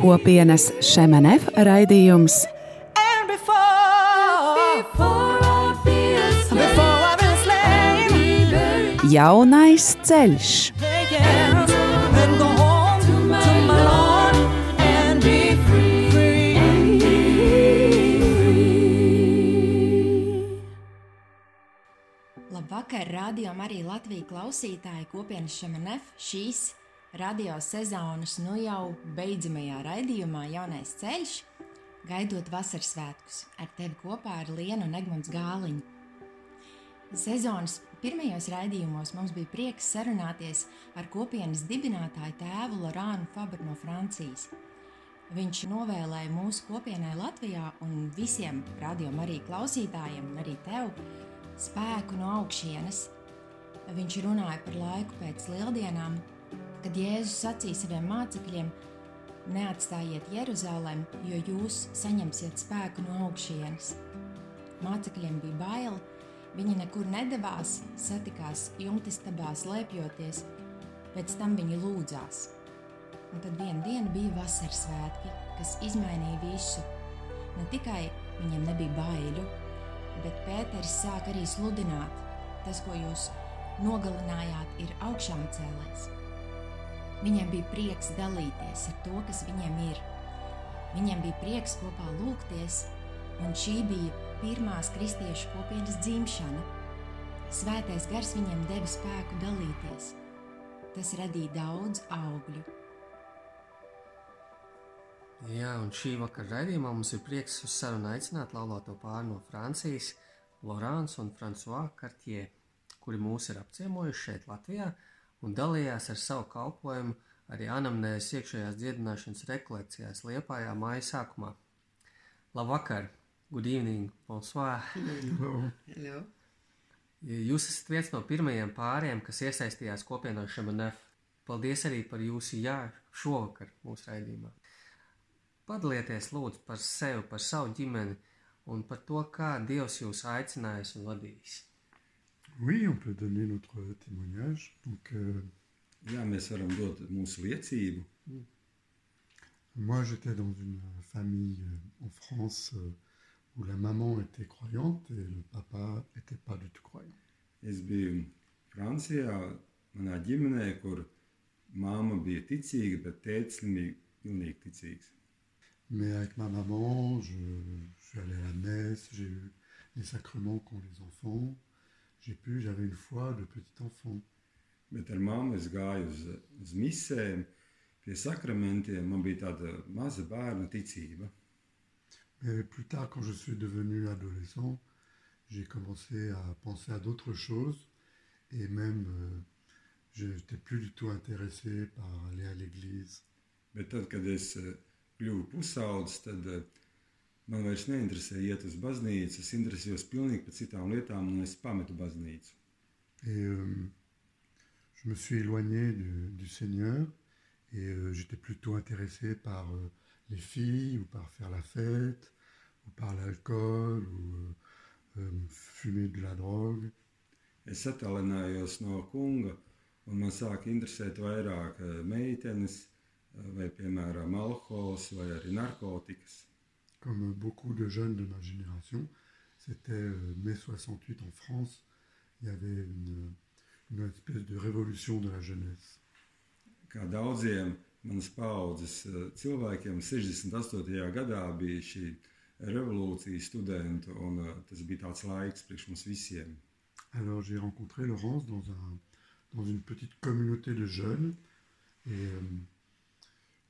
Kopienas Šemenef raidījums Jaunais ceļš. Labvakar, radio arī Latvijas klausītāji kopienas Šemenef šīs radio sezonas, nu jau beidzamajā raidījumā, jaunais ceļš, gaidot vasaras svētkus. Ar tevi kopā ir Lienu un Egmunds Gāliņu. Sezonas pirmajos raidījumos mums bija prieks sarunāties ar kopienas dibinātāju tēvu Lorānu Fabru no Francijas. Viņš novēlēja mūsu kopienai Latvijā un visiem radiokamā arī klausītājiem, arī tev, spēku no augšienes. Viņš runāja par laiku pēc lieldienām, kad Jēzus sacīja saviem mācekļiem: Neatstājiet Jeruzalem, jo jūs saņemsiet spēku no augšienes. Mācekļiem bija bail, viņi nekur nedavās, satikās jumtistabā slēpjoties, pēc tam viņi lūdzās. Un tad vienā dienā bija vasaras svētki, kas izmainīja visu. Ne tikai viņiem nebija bailu, bet Pēters sāk arī sludināt, tas, ko jūs nogalinājāt, ir augšām cēlējis. Viņiem bija prieks dalīties ar to, kas viņiem ir. Viņiem bija prieks kopā lūgties, un šī bija pirmās kristiešu kopienas dzimšana. Svētais gars viņiem deva spēku dalīties. Tas radīja daudz augļu. Jā, un šī vakara raidījumā mums ir prieks uz sarunu aicināt laulāto pāri no Francijas, Lorāns un Frančiskā Kartjē, kuri mūs ir apciemojuši šeit, Latvijā, un dalījās ar savu kalpošanu arī anamnēs iekšējās dziedināšanas rekolekcijās Liepājā māja sākumā. Labvakar, good evening, bonsoir! Hello. Jūs esat viens no pirmajiem pāriem, kas iesaistījās kopienā Šemanef. Paldies arī par jūsu jā šovakar mūsu raidījumā. Padalieties lūdzu par sevi, par savu ģimeni un par to, kā Dievs jūs aicinājis un vadījis. Oui, on peut donner notre témoignage. Donc, euh, Jā, mēs varam dot mūsu liecību. moi, j'étais dans une famille euh, en France euh, où la maman était croyante et le papa n'était pas du tout croyant. Es biju Francijā, manā ģimenē, kur māma bija ticīga, bet tēvs bija pilnīgi ticīgs. Mais avec ma maman, je, je suis allé à la messe, j'ai eu les sacrements qu'ont les enfants. J'ai pu, j'avais une foi de petit enfant. Bet ar māmu es gāju uz, uz misēm, pie sakramentiem. Man bija tāda maza bērna ticība. Mais plus tard, quand je suis devenu adolescent, j'ai commencé à penser à d'autres choses et même euh, je n'étais plus du tout intéressé par aller à l'église. Bet tad, kad es eh, kļuvu pusaudzis, tad eh, man vairs neinteresēja iet uz baznīcu. Es interesējos pilnīgi par citām lietām, un es pametu baznīcu. Et euh, je me suis éloigné du, du Seigneur et euh, j'étais plutôt intéressé par euh, les filles ou par faire la fête ou par l'alcool ou euh, euh, fumer de la drogue. Es attālinājos no kunga, un man sāka interesēt vairāk eh, meitenes, eh, vai piemēram alkohols, vai arī narkotikas. Comme euh, beaucoup de jeunes de ma génération, c'était euh, mai 68 en France. Il y avait une, une espèce de révolution de la jeunesse. Kā daudziem manas paudzes eh, cilvēkiem, 68. gadā bija šī revolūcija, studentu, un eh, tas bija tāds laiks priekš mums visiem. Alors j'ai rencontré Laurence dans, un, dans une petite communauté de jeunes et euh,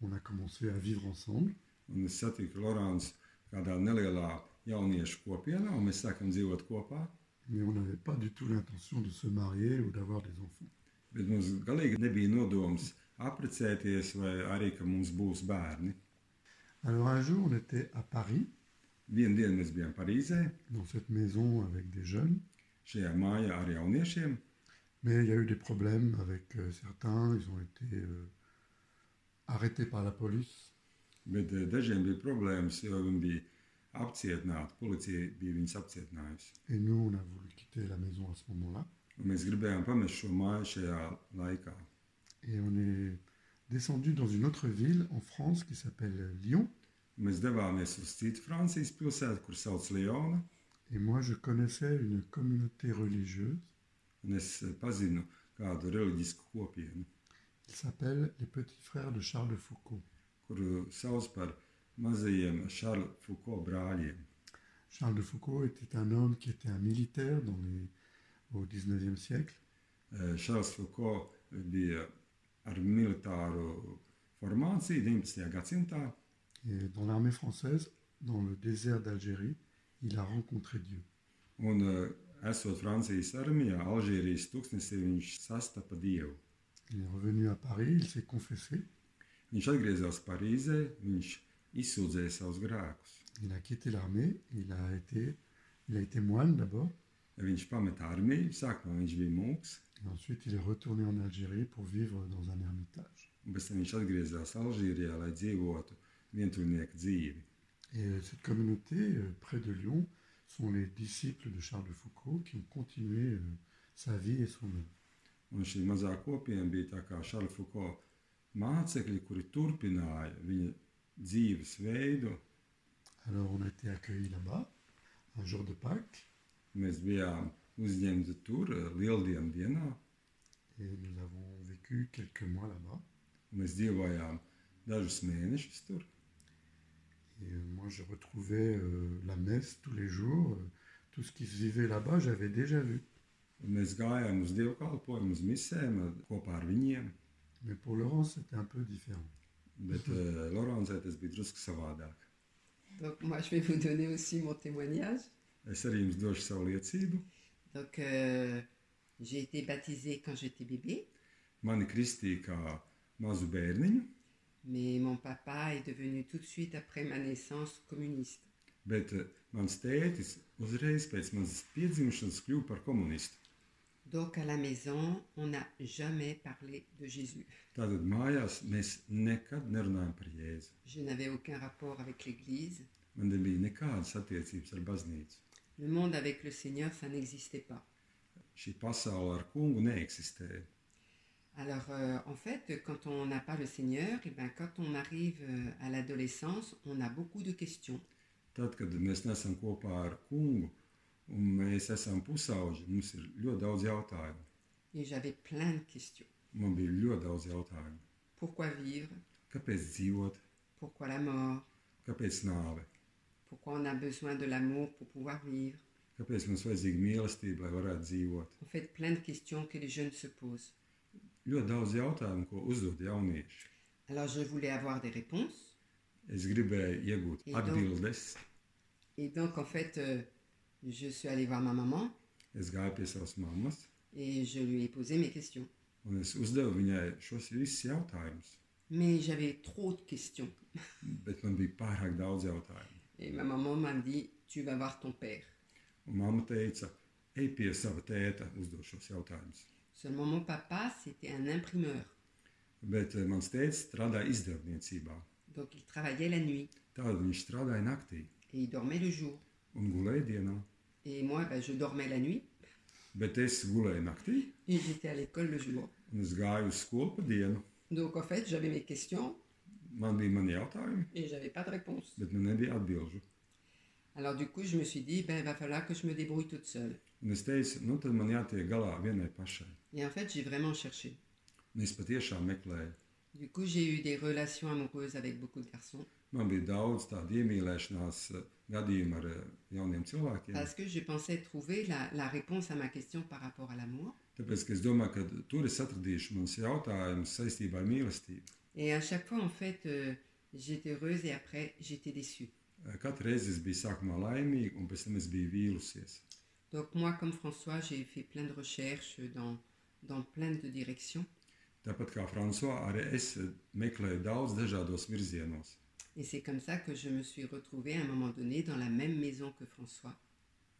on a commencé à vivre ensemble. Un es satiku Lorāns kādā nelielā jauniešu kopienā, un mēs sākam dzīvot kopā. Mais on n'avait pas du tout l'intention de se marier ou d'avoir des enfants. Bet mums galīgi nebija nodoms apprecēties, vai arī, ka mums būs bērni. Alors un jour on était à Paris, Vienu dienu mēs bijām Parīzē, dans cette maison avec des jeunes, šajā mājā ar jauniešiem, Mais il y a eu des problèmes avec euh, certains. Ils ont été euh, arrêtés par la police. Bet eh, dažiem bija problēmas, jo viņi bija apcietināti. Policija bija viņus apcietinājusi. Et nous, on a voulu quitter la maison à ce moment-là. Un Mēs gribējām pamest šo māju šajā laikā. Et on est descendu dans une autre ville en France qui s'appelle euh, Lyon. Mēs devāmies uz citu Francijas pilsētu, kur sauc Liona. Et moi, je connaissais une communauté religieuse Un es eh, pazinu kādu reliģisku kopienu, qui s'appelle les Petits Frères de Charles de Foucault. kuru sauc par mazajiem Šarlu Fuko brāļiem. Charles de Foucault était un homme qui était un militaire dans les- au XIXe siècle. Eh, Šarls Fuko bija ar militāru formāciju 19. gadsimtā. Et dans l'armée française, dans le désert d'Algérie, il a rencontré Dieu. Un, eh, esot Francijas armijā, Alžīrijas tūkstnesī, viņš sastapa dievu. Il est revenu à Paris, il s'est confessé, Viņš atgriezās Parīzē, viņš izsūdzēja savus grēkus. il a quitté l'armée, il a été, il a été moine d'abord, Viņš pameta armiju, sākumā viņš bija mūks, et ensuite il est retourné en Algérie pour vivre dans un ermitage. un pēc tam viņš atgriezās Alžīrijā, lai dzīvotu vientuļnieku dzīvi. Et euh, cette communauté euh, près de Lyon sont les disciples de Charles de Foucault qui ont continué euh, sa vie et son œuvre. Un šī mazā kopiena bija tā kā Šarla Fuko mācekļi, kuri turpināja viņa dzīves veidu. Alors on a été accueillis là-bas un jour de Pâques Mēs bijām uzņemti tur eh, Lieldienu dienā, et nous avons vécu quelques mois là-bas. un mēs dzīvojām dažus mēnešus tur. Et euh, moi, je retrouvais euh, la messe tous les jours. euh, tout ce qui se vivait là-bas, j'avais déjà vu. Un Mēs gājām uz dievkalpojumu, uz misēm eh, kopā ar viņiem, Mais pour Laurent, c'était un peu différent. bet eh, Lorencē tas bija drusku savādāk. Donc moi, je vais vous donner aussi mon témoignage. Es arī jums došu savu liecību. Donc euh, j'ai été baptisée quand j'étais bébé, Mani kristīja kā mazu bērniņu, mais mon papa est devenu tout de suite après ma naissance communiste. bet eh, mans tētis uzreiz pēc manas piedzimšanas kļuva par komunistu. Donc à la maison, on n'a jamais parlé de Jésus. Tātad mājās mēs nekad nerunājam par Jēzu. Je n'avais aucun rapport avec l'Église. Man nebija nekādas attiecības ar baznīcu. Le monde avec le Seigneur, ça n'existait pas. Šī pasaule ar kungu neeksistēja. Alors euh, en fait, quand on n'a pas le Seigneur, et ben, quand on arrive euh, à l'adolescence, on a beaucoup de questions. Tad, kad mēs nesam kopā ar kungu un mēs esam pusauģi, mums ir ļoti daudz jautājumu. Et j'avais plein de questions. Man bija ļoti daudz jautājumu. Pourquoi vivre Kāpēc dzīvot, Pourquoi la mort kāpēc nāve, Pourquoi on a besoin de l'amour pour pouvoir vivre kāpēc mums vajadzīga mīlestība, lai varētu dzīvot? En fait, plein de questions que les jeunes se posent. Ļoti daudz jautājumu, ko uzdod jaunieši. Alors, je voulais avoir des réponses. Es gribēju iegūt Iedod. atbildes. Et donc, en fait, euh, je suis allée voir ma maman Es gāju pie savas mammas et je lui ai posé mes questions. un es uzdevu viņai šos visus jautājumus. Mais j'avais trop de questions. Bet man bija pārāk daudz jautājumu. Et ma maman m'a dit, tu vas voir ton père. Un mamma teica, ej pie sava tēta, uzdod šos jautājumus. Seulement, mon papa, c'était un imprimeur. Bet eh, mans tēvs strādāja izdevniecībā. Donc, il travaillait la nuit Tātad viņš strādāja naktī et il dormait le jour. un gulēja dienā. Et moi, ben, je dormais la nuit Bet es gulēju naktī et j'étais à l'école le jour. un es gāju uz skolu pa dienu. Donc, en fait, j'avais mes questions Man bija mani jautājumi, et j'avais pas de réponse. bet man nebija atbilžu. Alors, du coup, je me suis dit, ben, il va falloir que je me débrouille toute seule. Un es teicu, nu tad man jātiek galā vienai pašai. Et en fait, j'ai vraiment cherché. Un es patiešām meklēju. Du coup, j'ai eu des relations amoureuses avec beaucoup de garçons Man bija daudz tādu iemīlēšanās eh, gadījumu ar eh, jauniem cilvēkiem. parce que je pensais trouver la, la réponse à ma question par rapport à l'amour. Tāpēc ka es domāju, ka tur es atradīšu mans jautājumus saistībā ar mīlestību. Et à chaque fois, en fait, euh, j'étais heureuse et après, j'étais déçue. Eh, Katru reizi es biju sākumā laimīga, un pēc tam es biju vīlusies. Donc, moi, comme François, j'ai fait plein de recherches dans, dans plein de directions. Tāpat kā Frančiskā, arī es eh, meklēju daudz dažādos virzienos. Et c'est comme ça que je me suis retrouvée à un moment donné dans la même maison que François.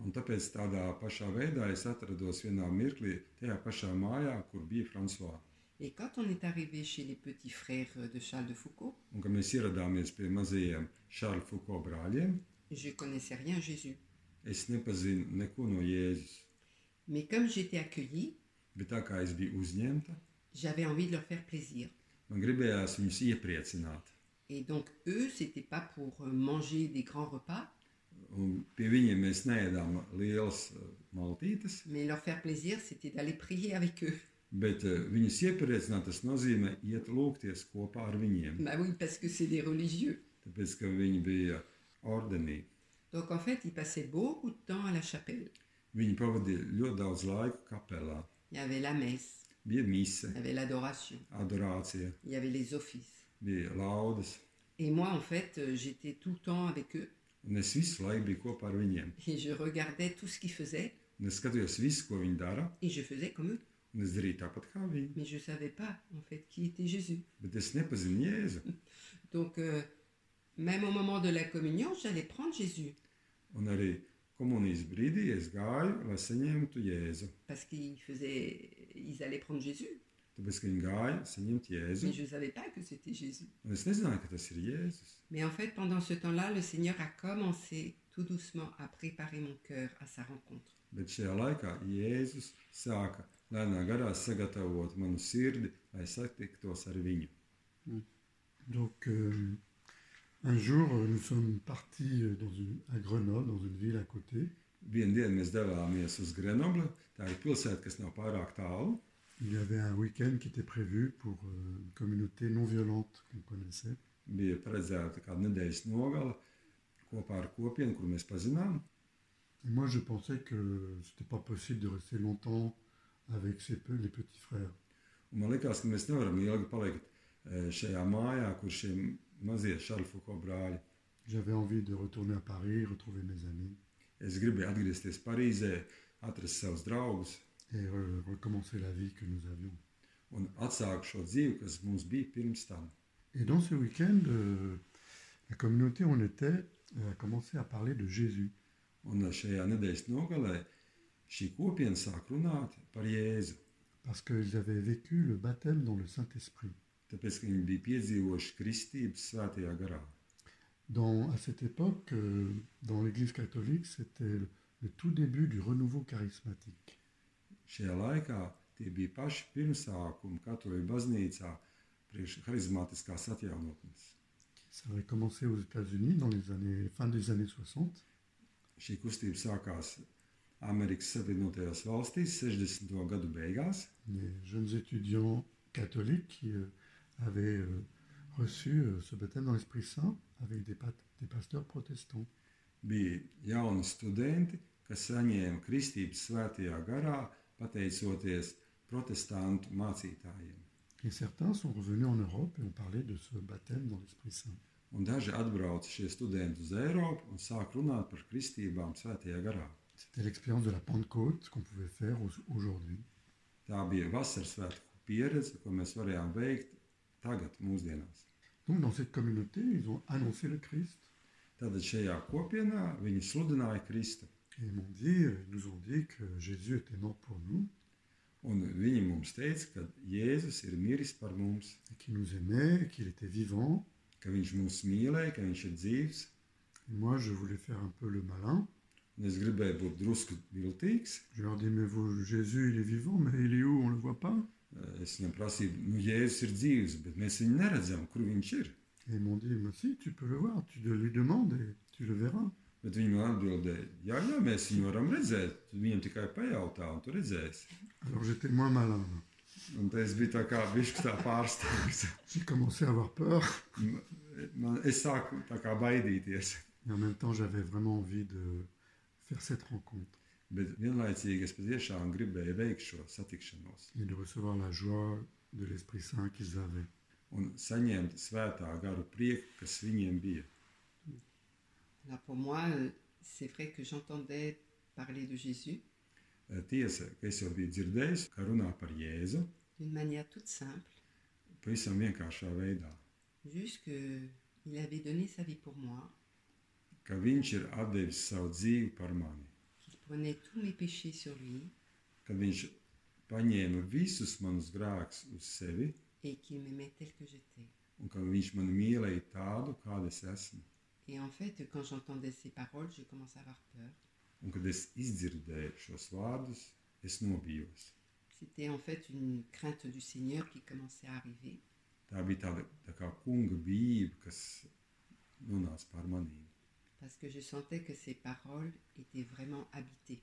Un tāpēc tādā pašā veidā es atrados vienā mirklī tajā pašā mājā, kur bija Frančiska. Et quand on est arrivé chez les petits frères de Charles de Foucault, Un kad mēs ieradāmies pie mazajiem Šāra Fuko brāļiem, je connaissais rien à Jésus. es nepazinu neko no Jēzus. Mais comme j'étais accueillie, Bet tā kā es biju uzņemta, j'avais envie de leur faire plaisir. man gribējās viņus iepriecināt. Et donc eux, c'était pas pour euh, manger des grands repas, Un pie viņiem mēs neēdām lielas eh, maltītes, mais leur faire plaisir, c'était d'aller prier avec eux. bet eh, viņus iepriecināt, tas nozīmē iet lūgties kopā ar viņiem. Bah oui, parce que c'est des religieux. Tāpēc, ka viņi bija ordenī. Donc en fait, ils passaient beaucoup de temps à la chapelle. Viņi pavadīja ļoti daudz laika kapelā. Il y avait la messe, Bija mise, il y avait l'adoration, adorācija, il y avait les offices. bija laudas, Et moi, en fait, euh, j'étais tout le temps avec eux un es visu laiku biju kopā ar viņiem. et je regardais tout ce qu'ils faisaient Un es skatījos visu, ko viņi dara, et je faisais comme eux. un es darīju tāpat kā viņi. Mais je ne savais pas, en fait, qui était Jésus. Bet es nepazinu Jēzu. Donc, euh, même au moment de la communion, j'allais prendre Jésus Un arī komunijas brīdī es gāju, lai saņemtu Jēzu. parce qu'ils faisaient, ils allaient prendre Jésus, Tāpēc, ka viņi gāja saņemt Jēzu, mais je ne savais pas que c'était Jésus. un es nezināju, ka tas ir Jēzus. Mais en fait, pendant ce temps-là, le Seigneur a commencé tout doucement à préparer mon cœur à sa rencontre. Bet šajā laikā Jēzus sāka lēnā garā sagatavot manu sirdi, lai satiktos ar viņu. Donc, euh, un jour, euh, nous sommes partis euh, dans une- à Grenoble, dans une ville à côté. Vienu dienu mēs devāmies uz Grenobli. Tā ir pilsēta, kas nav pārāk tālu. Il y avait un week-end qui était prévu pour euh, une communauté non violente qu'on connaissait. Bija paredzēta kāda nedēļas nogala kopā ar kopienu, kur mēs pazinām. Et moi, je pensais que c'était pas possible de rester longtemps avec ces pe- les petits frères. Un man liekas, ka mēs nevaram ilgi palikt eh, šajā mājā, kur šie mazie šarfuko brāļi. J'avais envie de retourner à Paris, retrouver mes amis Es gribēju atgriezties Parīzē, atrast savus draugus et euh, recommencer la vie que nous avions. un atsākt šo dzīvi, kas mums bija pirms tam. Et dans ce week-end, euh, la communauté où on était euh, a commencé à parler de Jésus. Un eh, šajā nedēļas nogalē šī kopiena sāk runāt par Jēzu, Parce qu'ils avaient vécu le baptême dans le Saint-Esprit. tāpēc, ka viņi bija piedzīvojuši kristības svētajā garā. Dans- à cette époque, euh, dans l'Église catholique, c'était le, le tout début du renouveau charismatique. Šajā laikā tie bija paši pirmsākumi Katoļu baznīcā priekš harizmātiskās atjaunotnes. Ça avait commencé aux États-Unis dans les années fin des années 60 Šī kustība sākās Amerikas Savienotajās valstīs 60. gadu beigās. des jeunes étudiants catholiques qui euh, avaient euh, reçu euh, ce baptême dans l'Esprit Saint avec des, pat- des pasteurs protestants. Bija jauni studenti, kas saņēma kristības svētajā garā, pateicoties protestantu mācītājiem. Et certains sont revenus en Europe et ont parlé de ce baptême dans l'Esprit Saint. Un daži atbrauca šie studenti uz Eiropu un sāk runāt par kristībām svētajā garā. C'était l'expérience de la Pentecôte qu'on pouvait faire au- aujourd'hui. Tā bija vasaras svētku pieredze, ko mēs varējām veikt tagad, mūsdienās. Donc dans cette communauté, ils ont annoncé le Christ. Tātad šajā kopienā viņi sludināja Kristu, Et ils m'ont dit, euh, ils nous ont dit que Jésus était mort pour nous un viņi mums teica, ka Jēzus ir miris par mums, et qu'il nous aimait, et qu'il était vivant. ka viņš mūs mīlēja, ka viņš ir dzīvs. Et moi, je voulais faire un peu le malin. Un es gribēju būt drusku viltīgs. Je leur dis, mais vous, Jésus, il est vivant, mais il est où On ne le voit pas. Es viņam prasīju, nu, Jēzus ir dzīvs, bet mēs viņu neredzam, kur viņš ir. Et ils m'ont dit, mais si, tu peux le voir, tu le lui demandes et tu le verras. Bet viņi man atbildēja, jā, jā, mēs viņu varam redzēt. Tu Viņam tikai pajautā, un tu redzēsi. Alors j'étais moins malin. Un tas bija tā kā bišķi tā pārsteigts. J'ai commencé à avoir peur. Man, es sāku tā kā baidīties. Et en même temps, j'avais vraiment envie de faire cette rencontre Bet vienlaicīgi es patiešām gribēju veikt šo satikšanos et de recevoir la joie de l'Esprit Saint qu'ils avaient. un saņemt svētā garu prieku, kas viņiem bija. Alors pour moi, euh, c'est vrai que j'entendais parler de Jésus E, Tiesa, ka es jau biju dzirdējis, ka runā par Jēzu d'une manière toute simple, pavisam vienkāršā veidā, juste qu'il avait donné sa vie pour moi, ka viņš ir atdevis savu dzīvi par mani. qu'il prenait tous mes péchés sur lui kad viņš paņēma visus manus grēkus uz sevi et qu'il m'aimait tel que j'étais. un ka viņš mani mīlēja tādu, kāda es esmu. Et en fait, quand j'entendais ces paroles, je commençais à avoir peur. Un kad es izdzirdēju šos vārdus, es nobijos. C'était en fait une crainte du Seigneur qui commençait à arriver. Tā bija tāda tā kā kunga bība, kas nonāca pār manīm. parce que je sentais que ces paroles étaient vraiment habitées.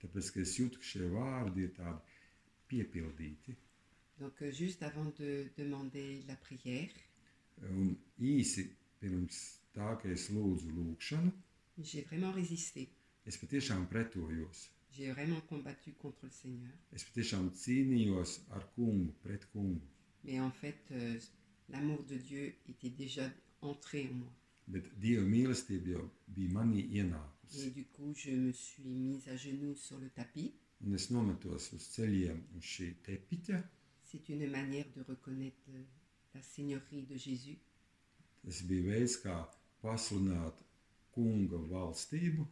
Tāpēc, ka es jūtu, ka šie vārdi ir tādi piepildīti. Donc euh, juste avant de demander la prière, Un īsi pirms tā, ka es lūdzu lūgšanu, j'ai vraiment résisté. es patiešām pretojos. J'ai vraiment combattu contre le Seigneur. Es patiešām cīnījos ar kungu, pret kungu. Mais en fait, euh, l'amour de Dieu était déjà entré en moi. Bet Dieva mīlestība jau bija manī Et ienākusi. du coup, je me suis mise à genoux sur le tapis. Un es nometos uz ceļiem uz šī tepiķa. C'est une manière de reconnaître euh, la Seigneurie de Jésus. Tas bija veids, kā pasludināt kunga valstību.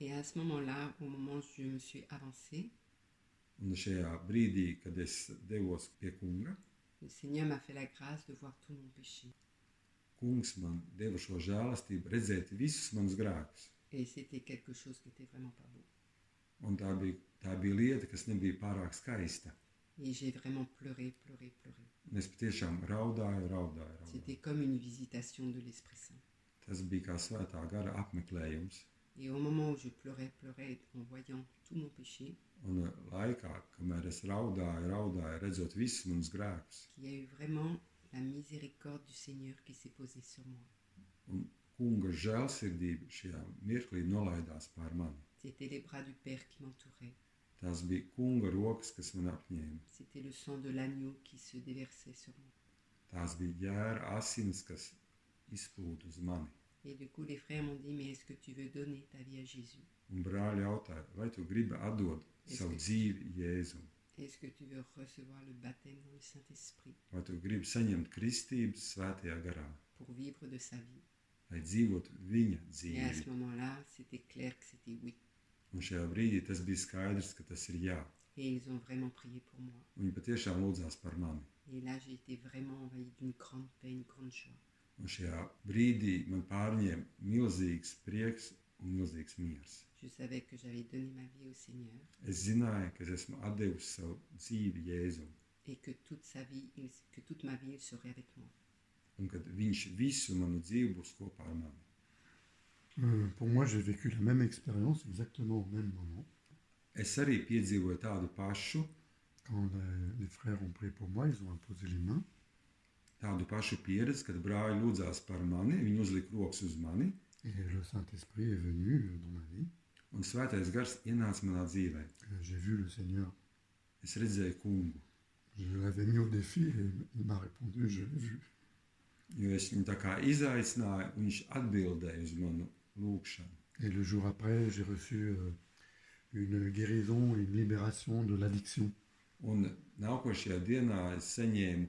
Et à ce moment-là, au moment où je me suis avancée, Un šajā brīdī, kad es devos pie kunga, le Seigneur m'a fait la grâce de voir tout mon péché. kungs man deva šo žēlastību, redzēt visus manus grēkus. Et c'était quelque chose qui était vraiment pas beau. Un tā bija, tā bija lieta, kas nebija pārāk skaista. Et j'ai vraiment pleuré, pleuré, pleuré. Un es patiešām raudāju, raudāju. raudāju. C'était comme une visitation de l'Esprit Saint. Tas bija kā svētā gara apmeklējums. Et au moment où je pleurais, pleurais en voyant tout mon péché, Un eh, laikā, kamēr es raudāju, raudāju, redzot visus manus grēkus, il y a eu vraiment la miséricorde du Seigneur qui s'est posée sur moi. un kunga žēlsirdība šajā mirklī nolaidās pār mani. C'était les bras du Père qui m'entouraient. Tās bija kunga rokas, kas man apņēma. C'était le sang de l'agneau qui se déversait sur moi. Tās bija jēra asins, kas izplūda uz mani. Et du coup, les frères m'ont dit, mais est-ce que tu veux donner ta vie à Jésus Un brāļi jautāja, vai tu gribi atdot Es savu gribu. dzīvi Jēzum, Est-ce que tu veux recevoir le baptême dans le Saint-Esprit vai tu gribi saņemt kristību svētajā garā, pour vivre de sa vie lai dzīvotu viņa Et à ce dzīvi. moment-là, c'était clair que c'était oui. Un šajā brīdī tas bija skaidrs, ka tas ir jā. Et ils ont vraiment prié pour moi. Viņi patiešām lūdzās par mani. Et là, j'ai été vraiment envahie d'une grande paix, une grande joie. Un šajā brīdī man pārņēma milzīgs prieks un milzīgs miers. Je savais que j'avais donné ma vie au Seigneur Es zināju, ka es esmu devis savu dzīvi Jēzum, et que toute, sa vie, il- que toute ma vie, il serait avec moi. un ka Viņš visu manu dzīvi būs kopā ar mani. Euh, pour moi, j'ai vécu la même expérience exactement au même moment. Es arī piedzīvoju tādu pašu, Quand euh, les frères ont prié pour moi, ils ont imposé les mains. tādu pašu pieredzi, kad brāļi lūdzās par mani, viņi uzlika rokas uz mani, Et le Saint-Esprit est venu euh, dans ma vie. un svētais gars ienāca manā dzīvē. Euh, J'ai vu le Seigneur. Es redzēju kungu, Je l'avais mis au défi et il m'a répondu, je l'ai vu. jo es viņu tā kā izaicināju, un viņš atbildēja uz manu lūgšanu. Et le jour après, j'ai reçu euh, une guérison et une libération de l'addiction. Un nākošajā dienā es saņēmu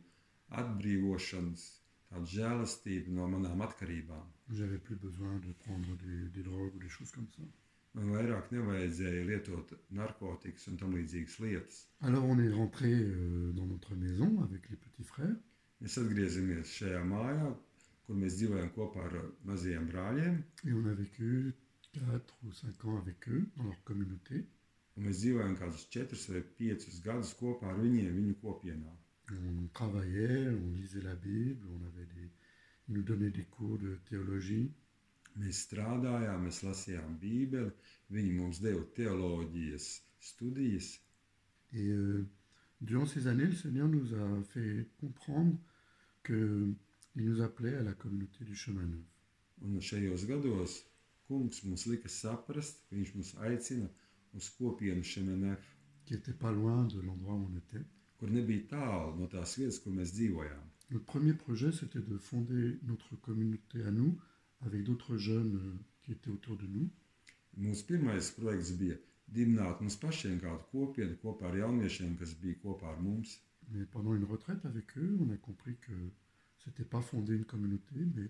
atbrīvošanas, tādu žēlastību no manām atkarībām. J'avais plus besoin de prendre des, des drogues ou des choses comme ça. Man vairāk nevajadzēja lietot narkotikas un tam līdzīgas lietas. Alors on est rentré euh, dans notre maison avec les petits frères Mēs atgriezāmies šajā mājā, kur mēs dzīvojam kopā ar eh, mazajiem brāļiem. et on a vécu 4 ou 5 ans avec eux dans leur communauté. Un mēs dzīvojam kaut kādus četrus vai piecus gadus kopā ar viņiem, viņu kopienā. On travaillait, on lisait la Bible, on avait des, ils nous donnaient des cours de théologie. Mēs strādājām, mēs lasījām Bībeli, viņi mums deva teoloģijas studijas. Et euh, durant ces années, le Seigneur nous a fait comprendre qu'il nous appelait à la communauté du chemin neuf. Un šajos gados kungs mums lika saprast, ka viņš mūs aicina uz kopienu Šemenef, qui n'était pas loin de l'endroit où on était. kur nebija tālu no tās vietas, kur mēs dzīvojām. Notre premier projet, c'était de fonder notre communauté à nous, avec d'autres jeunes euh, qui étaient autour de nous. Mūsu pirmais projekts bija dibināt mums pašiem kādu kopienu kopā ar jauniešiem, kas bija kopā ar mums. Mais pendant une retraite avec eux, on a compris que c'était pas fonder une communauté, mais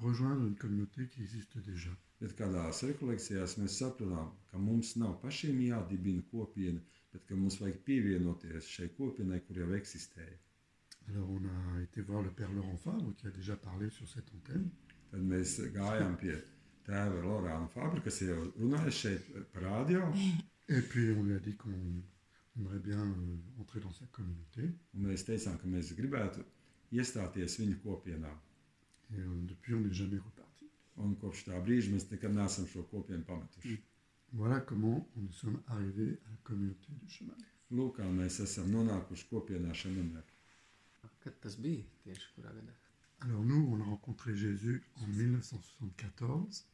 rejoindre une communauté qui existe déjà. Bet kādās rekolekcijās mēs sapratām, ka mums nav pašiem jādibina kopiena, bet ka mums vajag pievienoties šai kopienai, kur jau eksistēja. Alors on a été voir le père Laurent Fabre qui a déjà parlé sur cette antenne. Tad mēs gājām pie tēva Lorāna Fabra, kas jau runāja šeit par radio, Et puis on lui a dit qu'on aimerait bien euh, entrer dans sa communauté. un mēs teicām, ka mēs gribētu iestāties viņa kopienā. Et euh, depuis on n'est jamais reparti. Un kopš tā brīža mēs nekad neesam šo kopienu pametuši. Voilà comment nous sommes arrivés à la communauté du chemin. Lūk, kā mēs esam nonākuši kopienā šodien. Kad tas bija tieši kurā gadā? Alors nous, on a rencontré Jésus en 1974.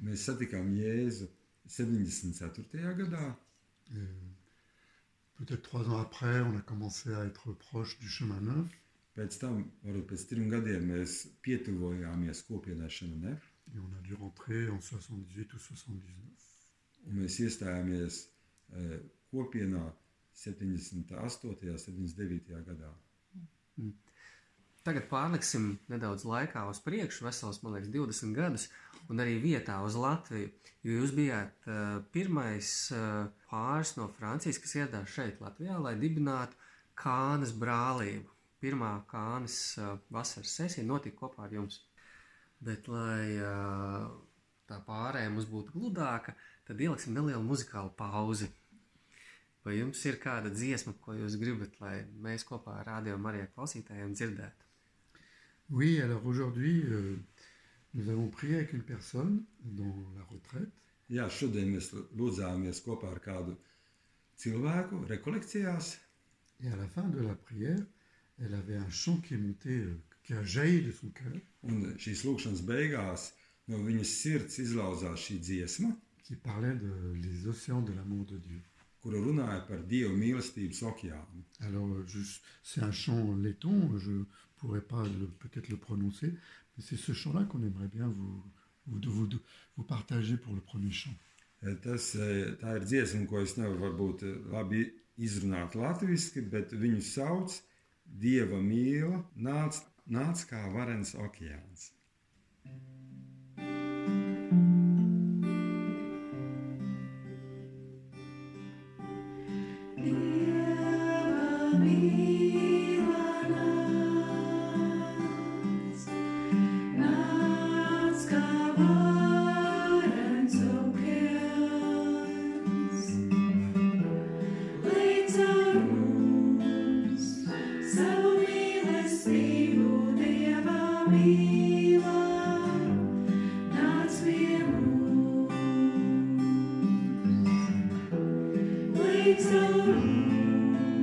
Mēs satikām Jēzu 74. gadā, Euh, Peut-être trois ans après, on a commencé à être proche du chemin neuf. pēc tam, varbūt pēc trim gadiem, mēs pietuvojāmies kopienai šodien, Et on a dû rentrer en 78 ou 79. un mēs iestājāmies eh, kopienā 78. un 79. gadā. Tagad pārliksim nedaudz laikā uz priekšu, vesels, man liekas, 20 gadus, un arī vietā uz Latviju. Jo jūs bijāt uh, pirmais uh, pāris no Francijas, kas ieradās šeit, Latvijā, lai dibinātu Kānas brālību. Pirmā Kānas uh, vasaras sesija notika kopā ar jums. Bet, lai uh, tā pārējai mums būtu gludāka, tad ieliksim nelielu muzikālu pauzi. Vai jums ir kāda dziesma, ko jūs gribat, lai mēs kopā ar radio Mariju klausītājiem dzirdētu? Oui, alors aujourd'hui, euh, nous avons prié avec une personne dans la retraite. Jā, šodien mēs lūdzāmies kopā ar kādu cilvēku rekolekcijās, Et à la fin de la prière, elle avait un chant qui est monté, euh, qui a jailli de son cœur, un šīs lūkšanas beigās no viņas sirds izlauzās šī dziesma, qui parlait de les océans de l'amour de Dieu. kura runāja par Dieva mīlestības okeānu. Alors, euh, je- c'est un chant laiton, je ne pourrais pas le- peut-être le prononcer, mais c'est ce chant-là qu'on aimerait bien vous, vous, vous, vous partager pour le premier chant. Tas, eh, tā ir dziesma, ko es nevaru varbūt eh, labi izrunāt latviešu, bet viņu sauc Dieva mīla, nāc, nāc kā varens okeāns.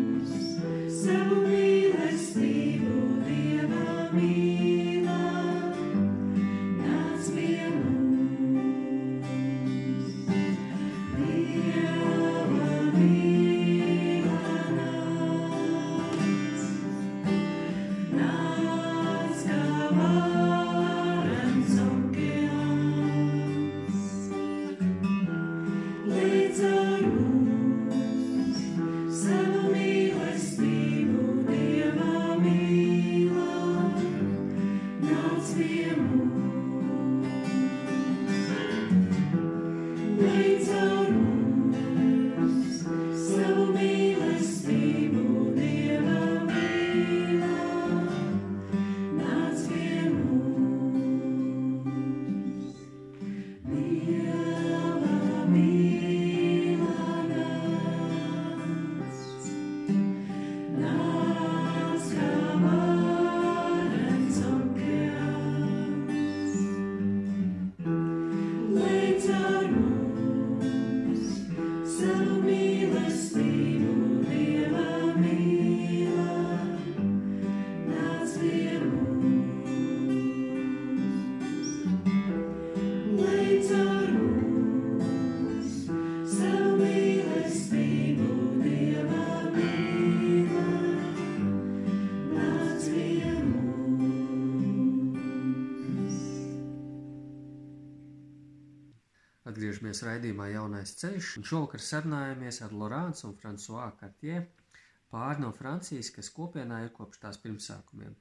Savu mīlestību Dieva mīlā, nāc pie mums. Dieva mīlā nāc, nāc kā varens okeāns. Līdz ar mums Savu mīlestību Dievā mīlā, nāc pie mums. Līdz ar mums savu mīlestību Dievā mīlā, nāc pie mums. Dieva mīlā nāc. Nāc kā varens okeāns. Līdz ar mums savu mīlestību Dievā mīlā. Nāc pie mums. Līdz ar mums savu mīlestību Dievā mīlā. Nāc pie mums. Atgriežamies raidījumā Jaunais ceļš, un šovakar sarunājamies ar Lorāns un Fransuā Kartie, pāri no Francijas, kas kopienā ir kopš tās pirmsākumiem.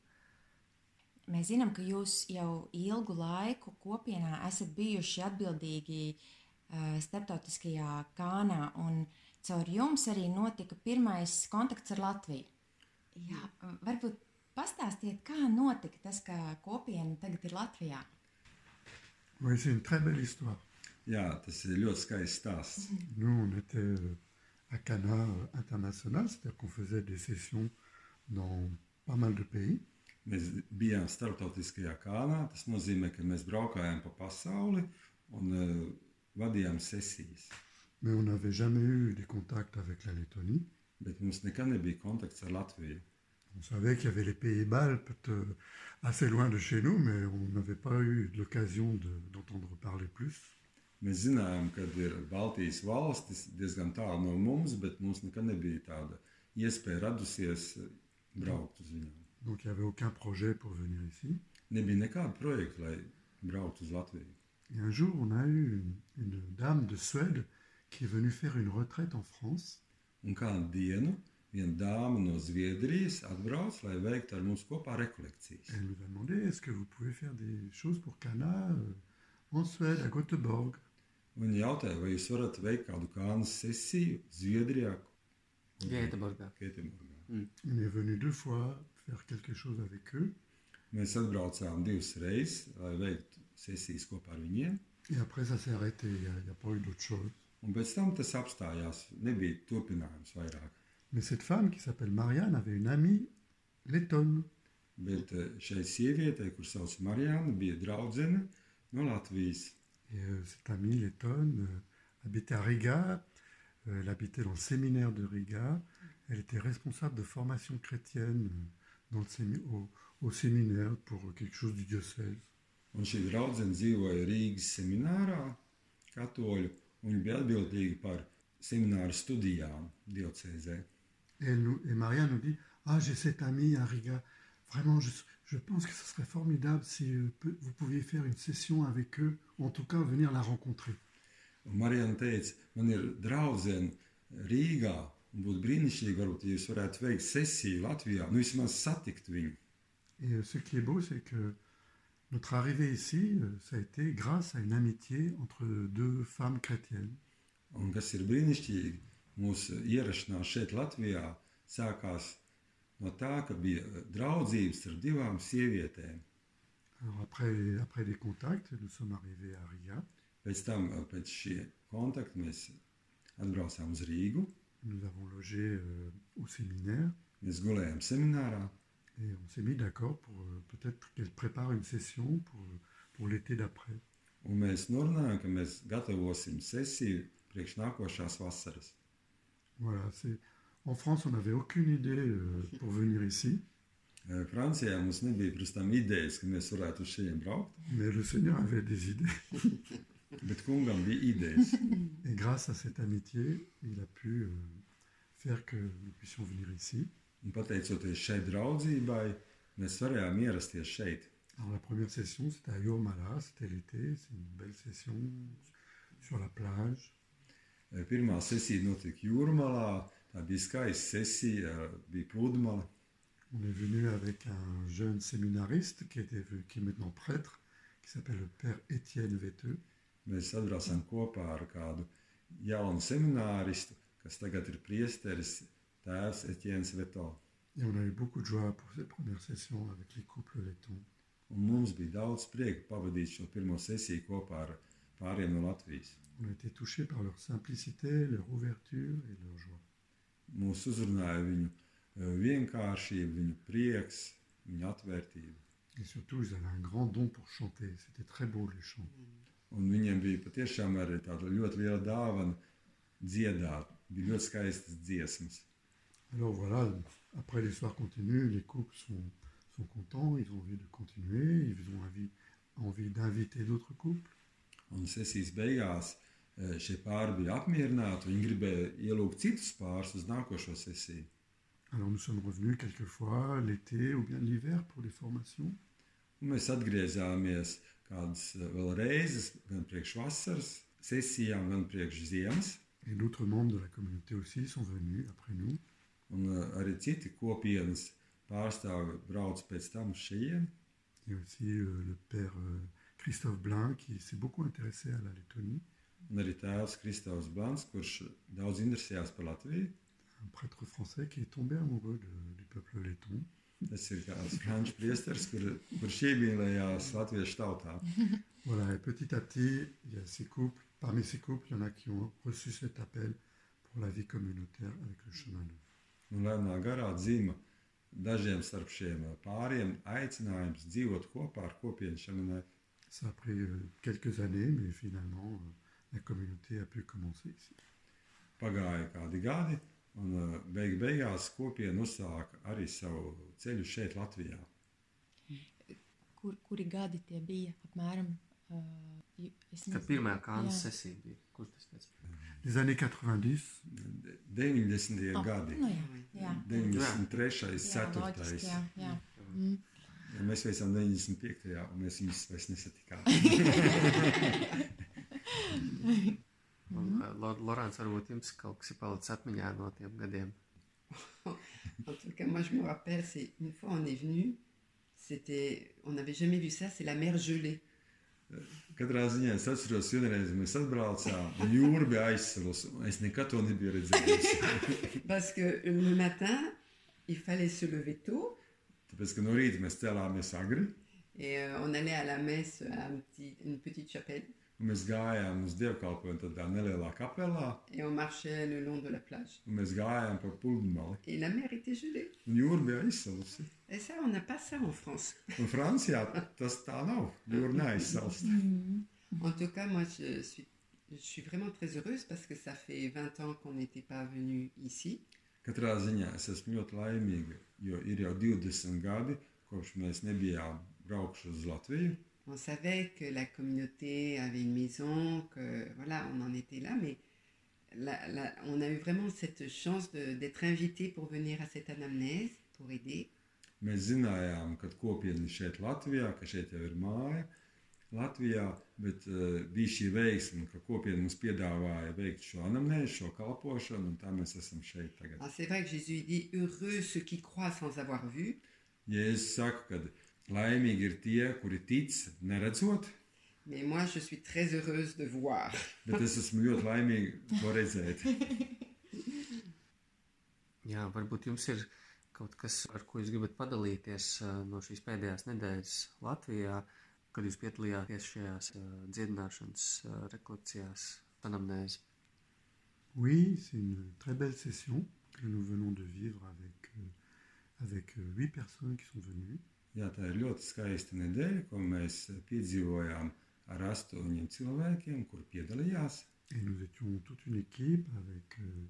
Mēs zinām, ka jūs jau ilgu laiku kopienā esat bijuši atbildīgi eh, starptautiskajā kānā, un caur jums arī notika pirmais kontakts ar Latviju. Jā, varbūt pastāstiet, kā notika tas, ka kopiena tagad ir Latvijā? Oui, c'est une très belle histoire. Jā, tas ir ļoti skaists stāsts. Nous, on était euh, à Cana euh, International, c'est-à-dire qu'on faisait des sessions dans pas mal de pays. Mēs bijām starptautiskajā kānā. Tas nozīmē, ka mēs braukājām pa pasauli un uh, vadījām sesijas. mais on n'avait jamais eu des contacts avec la Lettonie. Bet mums nekad nebija kontakts ar Latviju. On savait qu'il y avait les pays baltes euh, assez loin de chez nous, mais on n'avait pas eu l'occasion de- d'entendre parler plus. Mēs zinājām, ka ir Baltijas valstis diezgan tālu no mums, bet mums nekad nebija tāda iespēja radusies eh, braukt uz viņiem. Donc il n'y avait aucun projet pour venir ici. Nebija nekāda projekta, lai brauktu uz Latviju. Et un jour, on a eu une, une dame de Suède qui est venue faire une retraite en France. Un kādu dienu viena dāma no Zviedrijas atbrauc, lai veiktu ar mums kopā rekolekcijas. Elle nous a demandé est-ce que vous pouvez faire des choses pour Cana euh, en Suède, à Göteborg Viņa jautāja, vai jūs varat veikt kādu kānu sesiju Zviedrijā, Mhm. Gēteburgā. Gēteburgā. On est venu deux fois faire quelque chose avec eux. Mēs atbraucām divas reizes, lai veiktu sesijas kopā ar viņiem. Et après, ça s'est arrêté. Il n'y a, il y a pas eu d'autre chose. Un pēc tam tas apstājās. Nebija turpinājums vairāk. Mais cette femme qui s'appelle Marianne avait une amie lettonne. Bet eh, šai sievietei, kuras sauc Marijāna, bija draudzene no Latvijas. Et euh, cette amie lettonne euh, habitait à Riga. Euh, elle habitait dans le séminaire de Riga. Elle était responsable de formation chrétienne euh, dans le sémi- au, au séminaire pour euh, quelque chose du diocèse. Un šī draudzene dzīvoja Rīgas seminārā, katoļu, un viņa bija atbildīga par semināru studijām diocēzē. Et, elle nous- et Marianne nous dit Ah, j'ai cette amie à Riga. Vraiment, je, je pense que ce serait formidable si euh, peu- vous pouviez faire une session avec eux, ou en tout cas venir la rencontrer. Un Marijāna teica, man ir draudzene Rīgā, un būtu brīnišķīgi, varbūt, ja jūs varētu veikt sesiju Latvijā, nu vismaz satikt viņu. Et euh, ce qui est beau, c'est que notre arrivée ici, euh, ça a été grâce à une amitié entre deux femmes chrétiennes. Un kas ir brīnišķīgi, mūsu ierašanās šeit, Latvijā, sākās no tā, ka bija draudzības ar divām sievietēm. Alors après, après des contacts, nous sommes arrivés à Riga. Pēc tam, eh, pēc šī kontakta, mēs atbraucām uz Rīgu, Nous avons logé euh, au séminaire mēs gulējām seminārā, et on s'est mis d'accord pour euh, peut-être qu'elle prépare une session pour, euh, pour l'été d'après. un mēs norunājām, ka mēs gatavosim sesiju priekš nākošās vasaras. Voilà, c'est. En France, on n'avait aucune idée euh, pour venir ici, Eh, Francijā mums nebija, protams, idejas, ka mēs varētu uz šiem braukt, mais le Seigneur avait des idées. bet kungam bija idejas. Et grâce à cette amitié, il a pu euh, faire que nous puissions venir ici. Un pateicoties šai draudzībai, mēs varējām ierasties šeit. Alors la première session, c'était à Yormala, c'était l'été, c'est une belle session sur la plage. Pirmā sesija notika jūrmalā, tā bija skaista sesija, bija pludmale. On est venu avec un jeune séminariste qui, était, qui est maintenant prêtre, qui s'appelle le père Étienne Véteux. Mēs atbraucām kopā ar kādu jaunu semināristu, kas tagad ir priesteris, tēvs Etiens Veto. Et on a eu beaucoup de joie pour cette première session avec les couples lettons. Un mums bija daudz prieka pavadīt šo pirmo sesiju kopā ar pāriem no Latvijas. On a été touchés par leur simplicité, leur ouverture et leur joie. Mūs uzrunāja viņu eh, vienkāršība, viņu prieks, viņa atvērtība. Et surtout, ils avaient un grand don pour chanter. C'était très beau, les chants. Un viņiem bija patiešām arī tāda ļoti liela dāvana dziedāt. Bija ļoti skaistas dziesmas. Alors voilà, après l'histoire continue, les couples sont, sont contents, ils ont envie de continuer, ils ont envie, envie d'inviter d'autres couples. Un sesijas beigās eh, šie pāri bija apmierināti. Viņi gribēja ielūgt citus pārus uz nākošo sesiju. Alors nous sommes revenus quelquefois l'été ou bien l'hiver pour des formations. Un mēs atgriezāmies kādas eh, vēl reizes, gan priekš vasaras sesijām, gan priekš ziemas. Et d'autres membres de la communauté aussi sont venus après nous. Un eh, arī citi kopienas pārstāvi brauc pēc tam uz šejienes. Il y a aussi euh, le père euh, Christophe Blin qui s'est beaucoup intéressé à la Lettonie, Un arī tēvs Kristofs Blāns, kurš daudz interesējās par Latviju. un prêtre français qui est tombé amoureux de- du peuple letton. Tas ir kāds franču priesteris, kur, kurš iemīlējās latviešu tautā. Voilà, et petit à petit, il y a ces couples. Parmi ces couples, il y en a qui ont reçu cet appel pour la vie communautaire avec le chemin neuf. Un Nu, lēnā garā dzīva dažiem starp šiem eh, pāriem aicinājums dzīvot kopā ar kopienu šemenē. Ça a pris euh, quelques années, mais finalement, euh, la communauté a pu commencer ici. Pagāja kādi gadi, un eh, beig beigās kopiena uzsāka arī savu ceļu šeit, Latvijā. Kur, kuri gadi tie bija? Apmēram, uh, es Mhm. Tā nezinu. pirmā kāna Jā. sesija bija. Kur tas bija? Les années 90, De- 90. Ah, gadi, Nu, jā, jā. 93. Jā, loģiski, 4. jā, jā. Ja mēs veicām 95. un mēs viņus vairs nesatikām. Lorāns, varbūt jums kaut kas ir palicis atmiņā no tiem gadiem. En tout cas, moi, je me rappelle, c'est une fois on est venu, c'était, on n'avait jamais vu ça, c'est la mer gelée. Katrā ziņā es atceros, vienreiz mēs atbraucām, un jūra bija aizsilus. un Es nekad to nebiju redzējis. Parce que euh, le matin, il fallait se lever tôt Tāpēc, ka no rīta mēs cēlāmies agri, et euh, on allait à la messe à un petit- une petite chapelle un mēs gājām uz dievkalpojumu tādā nelielā kapelā, et on marchait le long de la plage. un mēs gājām pa pludmali. Et la mer était gelée. Un jūra bija aizsilusi. Et ça, on n'a pas ça en France. Un Francijā tas tā nav. Jūra neaizsilst. En tout cas, moi, je suis, je suis vraiment très heureuse parce que ça fait 20 ans qu'on n'était pas venu ici. Katrā ziņā es esmu ļoti laimīga, jo ir jau 20 gadi, kopš mēs nebijām braukši uz Latviju. On savait que la communauté avait une maison, que voilà, on en était là, mais la- la- on a eu vraiment cette chance de- d'être invité pour venir à cette anamnèse, pour aider. Mēs zinājām, ka kopiena ir šeit Latvijā, ka šeit jau ir māja Latvijā, bet uh, bija šī veiksme, ka kopiena mums piedāvāja veikt šo anamnēzi, šo kalpošanu, un tā mēs esam šeit tagad. Alors, c'est vrai que Jésus il dit Heureux ceux qui croient sans avoir vu, Jēzus saka, ka laimīgi ir tie, kuri tic, neredzot, mais moi je suis très heureuse de voir. bet es esmu ļoti laimīga to redzēt. Jā, varbūt jums ir kaut kas, ar ko jūs gribat padalīties eh, no šīs pēdējās nedēļas Latvijā, kad jūs piedalījāties šajās eh, dziedināšanas eh, rekolekcijās, anamnēzē. Oui, c'est une très belle session que nous venons de vivre avec, euh, avec euh, huit personnes qui sont venues. Jā, tā ir ļoti skaista nedēļa, ko mēs piedzīvojām ar astoņiem cilvēkiem, kur piedalījās. Et nous étions toute une équipe avec, euh,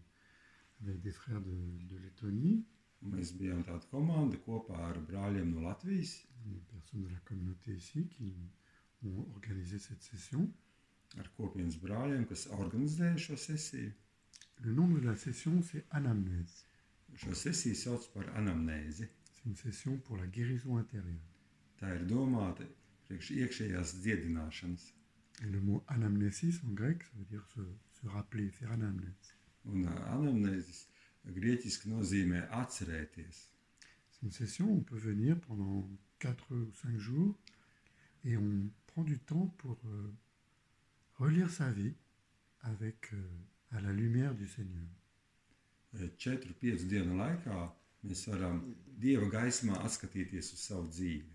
avec des frères de, de Lettonie, Mēs bijām tāda komanda kopā ar brāļiem no Latvijas. des personnes de la communauté ici qui ont organisé cette session. ar kopienas brāļiem, kas organizēja šo sesiju. Le nom de la session, c'est Anamnèse. Šo sesiju sauc par anamnēzi. C'est une session pour la guérison intérieure. Tā ir domāta priekš iekšējās dziedināšanas. Et le mot anamnésis en grec, ça veut dire se, se rappeler, faire anamnèse. Un ā, anamnēzis grieķiski nozīmē atcerēties. C'est une session où on peut venir pendant 4 ou 5 jours et on prend du temps pour euh, relire sa vie avec, euh, à la lumière du Seigneur. Eh, Četru, piecu dienu laikā mēs varam dieva gaismā atskatīties uz savu dzīvi.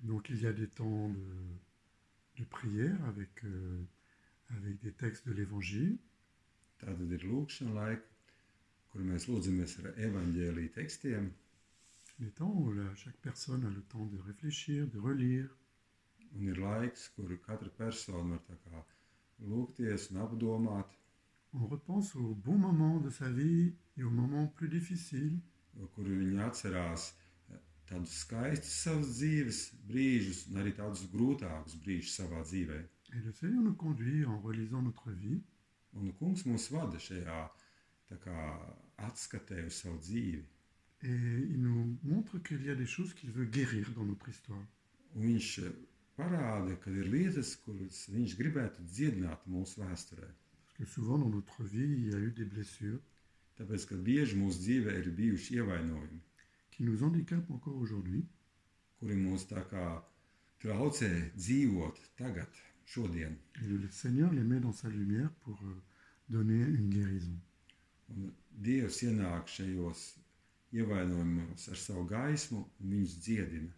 Donc il y a des temps de, de prière avec, euh, avec des textes de l'Évangile. Tā tad ir lūkšana laika, kur mēs lūdzamies ar evaņģēlīju tekstiem. Des temps où là, chaque personne a le temps de réfléchir, de relire. Un ir laiks, kur katra persona var tā kā lūgties un apdomāt, On repense aux bons moments de sa vie et aux moments plus difficiles. kur viņi atcerās eh, tādus skaistus savas dzīves brīžus, un arī tādus grūtākus brīžus savā dzīvē. Et le Seigneur nous conduit en relisant notre vie Un kungs mūs vada šajā tā kā, atskatē uz savu dzīvi. et il nous montre qu'il y a des choses qu'il veut guérir dans notre histoire. Un viņš eh, parāda, ka ir lietas, kuras viņš gribētu dziedināt mūsu vēsturē. Parce que souvent dans notre vie, il y a eu des blessures Tāpēc, ka bieži mūsu dzīvē ir bijuši ievainojumi, qui nous handicapent encore aujourd'hui. kuri kuri mūs tā kā traucē dzīvot tagad, šodien. Et le Seigneur les met dans sa lumière pour euh, donner une guérison. Un Dievs ienāk šajos ievainojumos ar savu gaismu un viņus dziedina.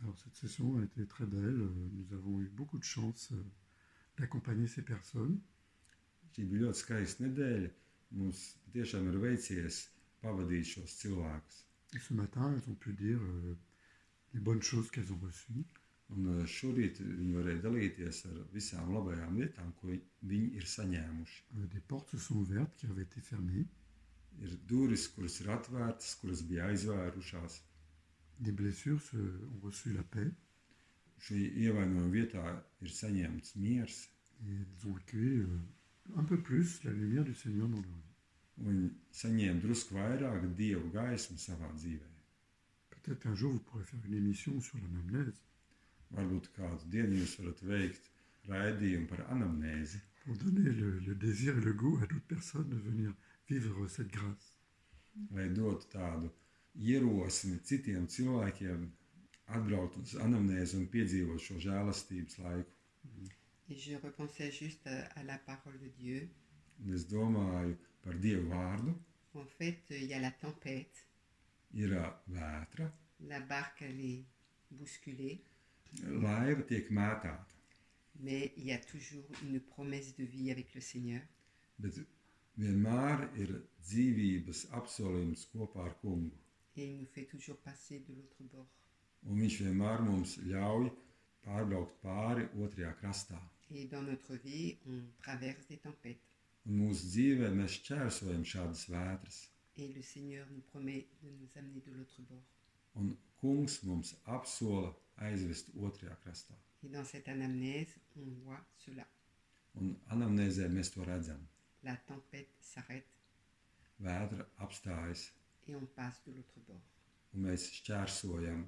Alors cette session a été très belle. Euh, Nous avons eu beaucoup de chance euh, d'accompagner ces personnes. Šī bija ļoti skaista nedēļa. Mums tiešām ir veicies pavadīt šos cilvēkus. Et ce matin, elles ont pu dire euh, les bonnes choses qu'elles ont reçues. Un eh, šorīt viņi varēja dalīties ar visām labajām lietām, ko viņi ir saņēmuši. Euh, Des portes se sont ouvertes qui avaient été fermées, Ir durvis, kuras ir atvērtas, kuras bija aizvērušās. des blessures se- ont reçu la paix Šī ievainojuma vietā ir saņemts miers. et elles ont accueilli euh, un peu plus la lumière du Seigneur dans leur vie. un Viņi saņēma drusku vairāk dievu gaismu savā dzīvē. Peut-être un jour vous pourrez faire une émission sur l'anamnèse Varbūt kādu dienu jūs varat veikt raidījumu par anamnēzi, pour donner le, le désir et le goût à d'autres personnes de venir vivre cette grâce. lai dotu tādu ierosmi citiem cilvēkiem atbraukt uz anamnēzi un piedzīvot šo žēlastības laiku. Et je repensais juste à, à la parole de Dieu. Un es domāju par dievu vārdu, En fait, euh, il y a la tempête. ir ā, vētra, La barque, elle est bousculée. laiva tiek mētāta, Mais il y a toujours une promesse de vie avec le Seigneur. bet vienmēr ir dzīvības apsolījums kopā ar kungu. Et il nous fait toujours passer de l'autre bord. Un viņš vienmēr mums ļauj pārbraukt pāri otrajā krastā. Et dans notre vie, on traverse des tempêtes. Un mūsu dzīvē mēs šķērsojam šādas vētras, Et le Seigneur nous promet de nous amener de l'autre bord. un kungs mums apsola aizvest otrajā krastā. Et dans cette anamnèse, on voit cela. Un anamnēzē mēs to redzam. La tempête s'arrête Vētra apstājas, et on passe de l'autre bord. un mēs šķērsojam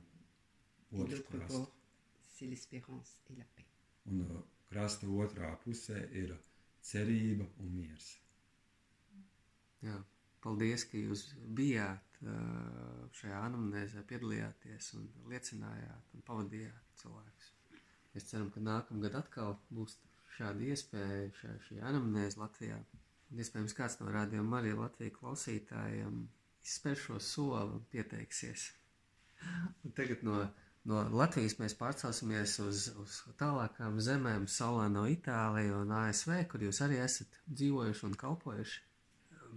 Et otru l'autre krastu. bord, c'est l'espérance et la paix. Un uh, krasta otrā pusē ir cerība un miers. Jā, paldies, ka jūs bijāt ā, šajā anamnēzē, piedalījāties un liecinājāt un pavadījāt cilvēkus. Mēs ceram, ka nākamgad atkal būs šāda iespēja, šā, šī anamnēze Latvijā. Un iespējams, kāds no rādījuma arī Latvijas klausītājiem izspēr šo soli un pieteiksies. Un tagad no, no Latvijas mēs pārcelsimies uz, uz tālākām zemēm, Solano, Itāliju un ASV, kur jūs arī esat dzīvojuši un kalpojuši.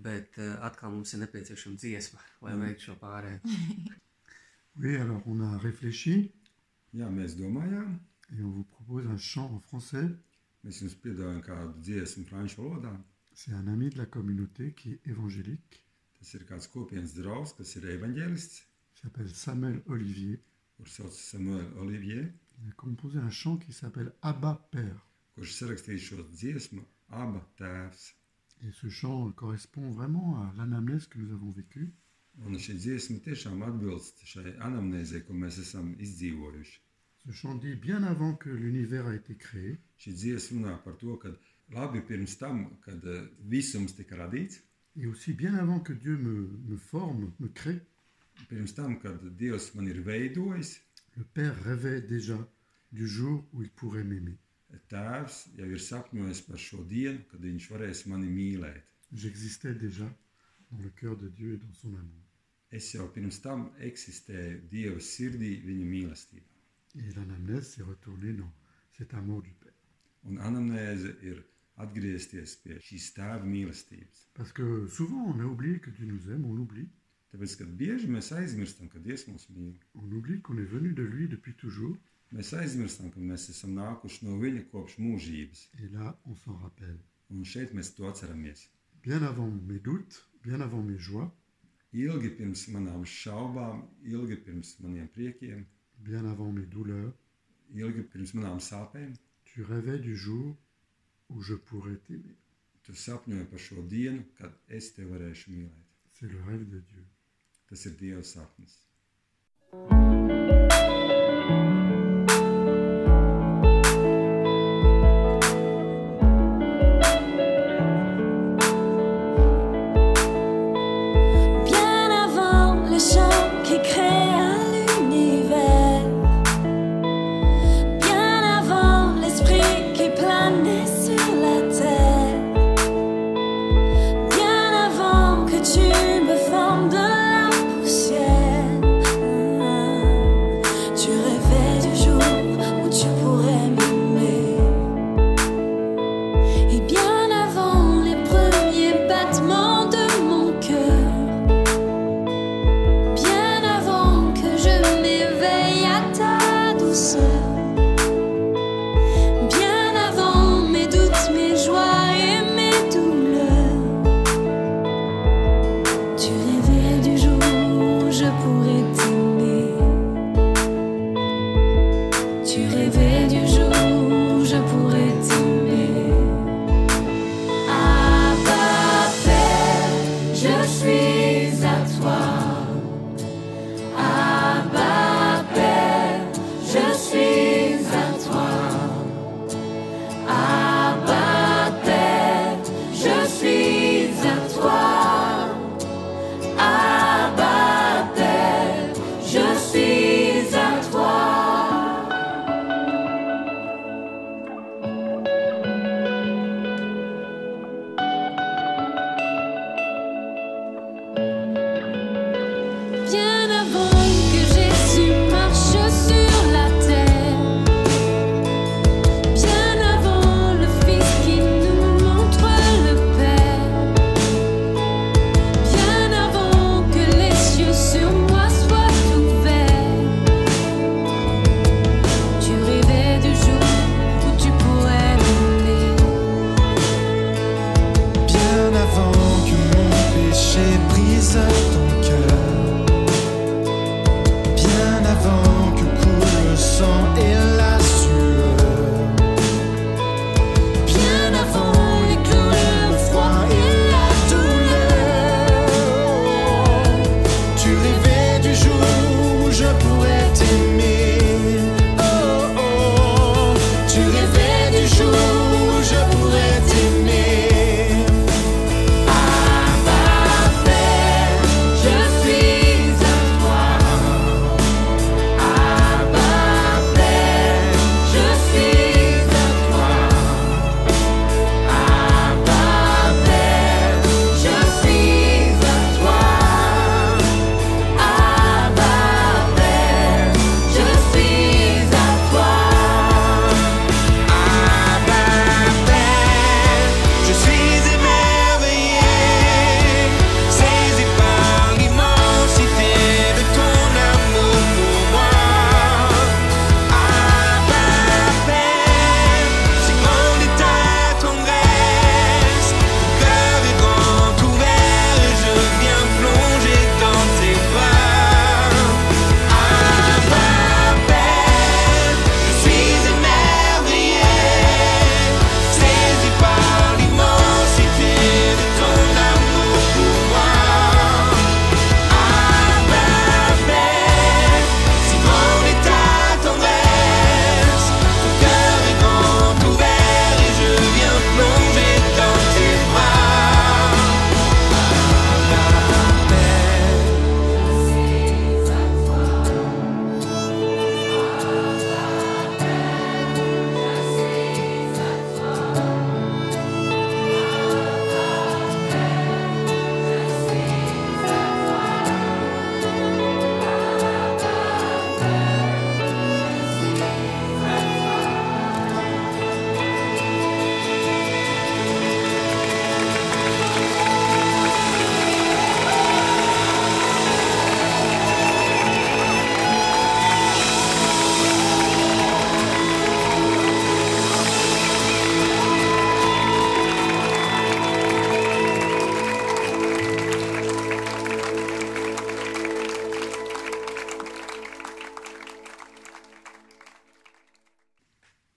Bet eh, atkal mums ir nepieciešama dziesma, lai veiktu šo pārēju. Oui, alors on a réfléchi Jā, mēs domājām, et on vous propose un chant en français. mēs jums piedāvājam kādu dziesmu franču valodā. C'est un ami de la communauté qui est évangélique. Tas ir kāds kopienas draugs, kas ir evaņģēlists, Il s'appelle Samuel Olivier. kurš sauc Samuēlu Olivier, Il a composé un chant qui s'appelle Abba Père. kurš sarakstījis šo dziesmu Aba tēvs. Et ce chant correspond vraiment à l'anamnèse que nous avons vécue. Un šī dziesma tiešām atbilst šai anamnēzē, ko mēs esam izdzīvojuši. Ce chant dit bien avant que l'univers a été créé, Šī dziesma runā par to, ka labi pirms tam, kad eh, visums tika radīts, et aussi bien avant que Dieu me, me forme, me crée, pirms tam, kad Dievs man ir veidojis, le Père rêvait déjà du jour où il pourrait m'aimer. tēvs jau ir sapņojis par šo dienu, kad viņš varēs mani mīlēt. J'existais déjà dans le cœur de Dieu et dans son amour. Es jau pirms tam eksistēju Dieva sirdī, viņa mīlestībā. Et l'anamnèse s'est retournée dans cet amour du Père. Un anamnēze ir atgriezties pie šīs tēva mīlestības. Parce que souvent on a oublié que Dieu nous aime, on oublie. Tāpēc, kad bieži mēs aizmirstam, ka Dievs mūs mīl, On oublie qu'on est venu de lui depuis toujours. mēs aizmirstam, ka mēs esam nākuši no viņa kopš mūžības. Et là, on s'en rappelle. Un šeit mēs to atceramies. Bien avant mes doutes, bien avant mes joies, Ilgi pirms manām šaubām, ilgi pirms maniem priekiem, bien avant mes douleurs, ilgi pirms manām sāpēm, tu rêvais du jour où je pourrais t'aimer. tu sapņoji par šo dienu, kad es te varēšu mīlēt. C'est le rêve de Dieu. Tas ir Dieva sapnis. Bien avant le chant qui créa l'univers, Oh, Ah, Ah,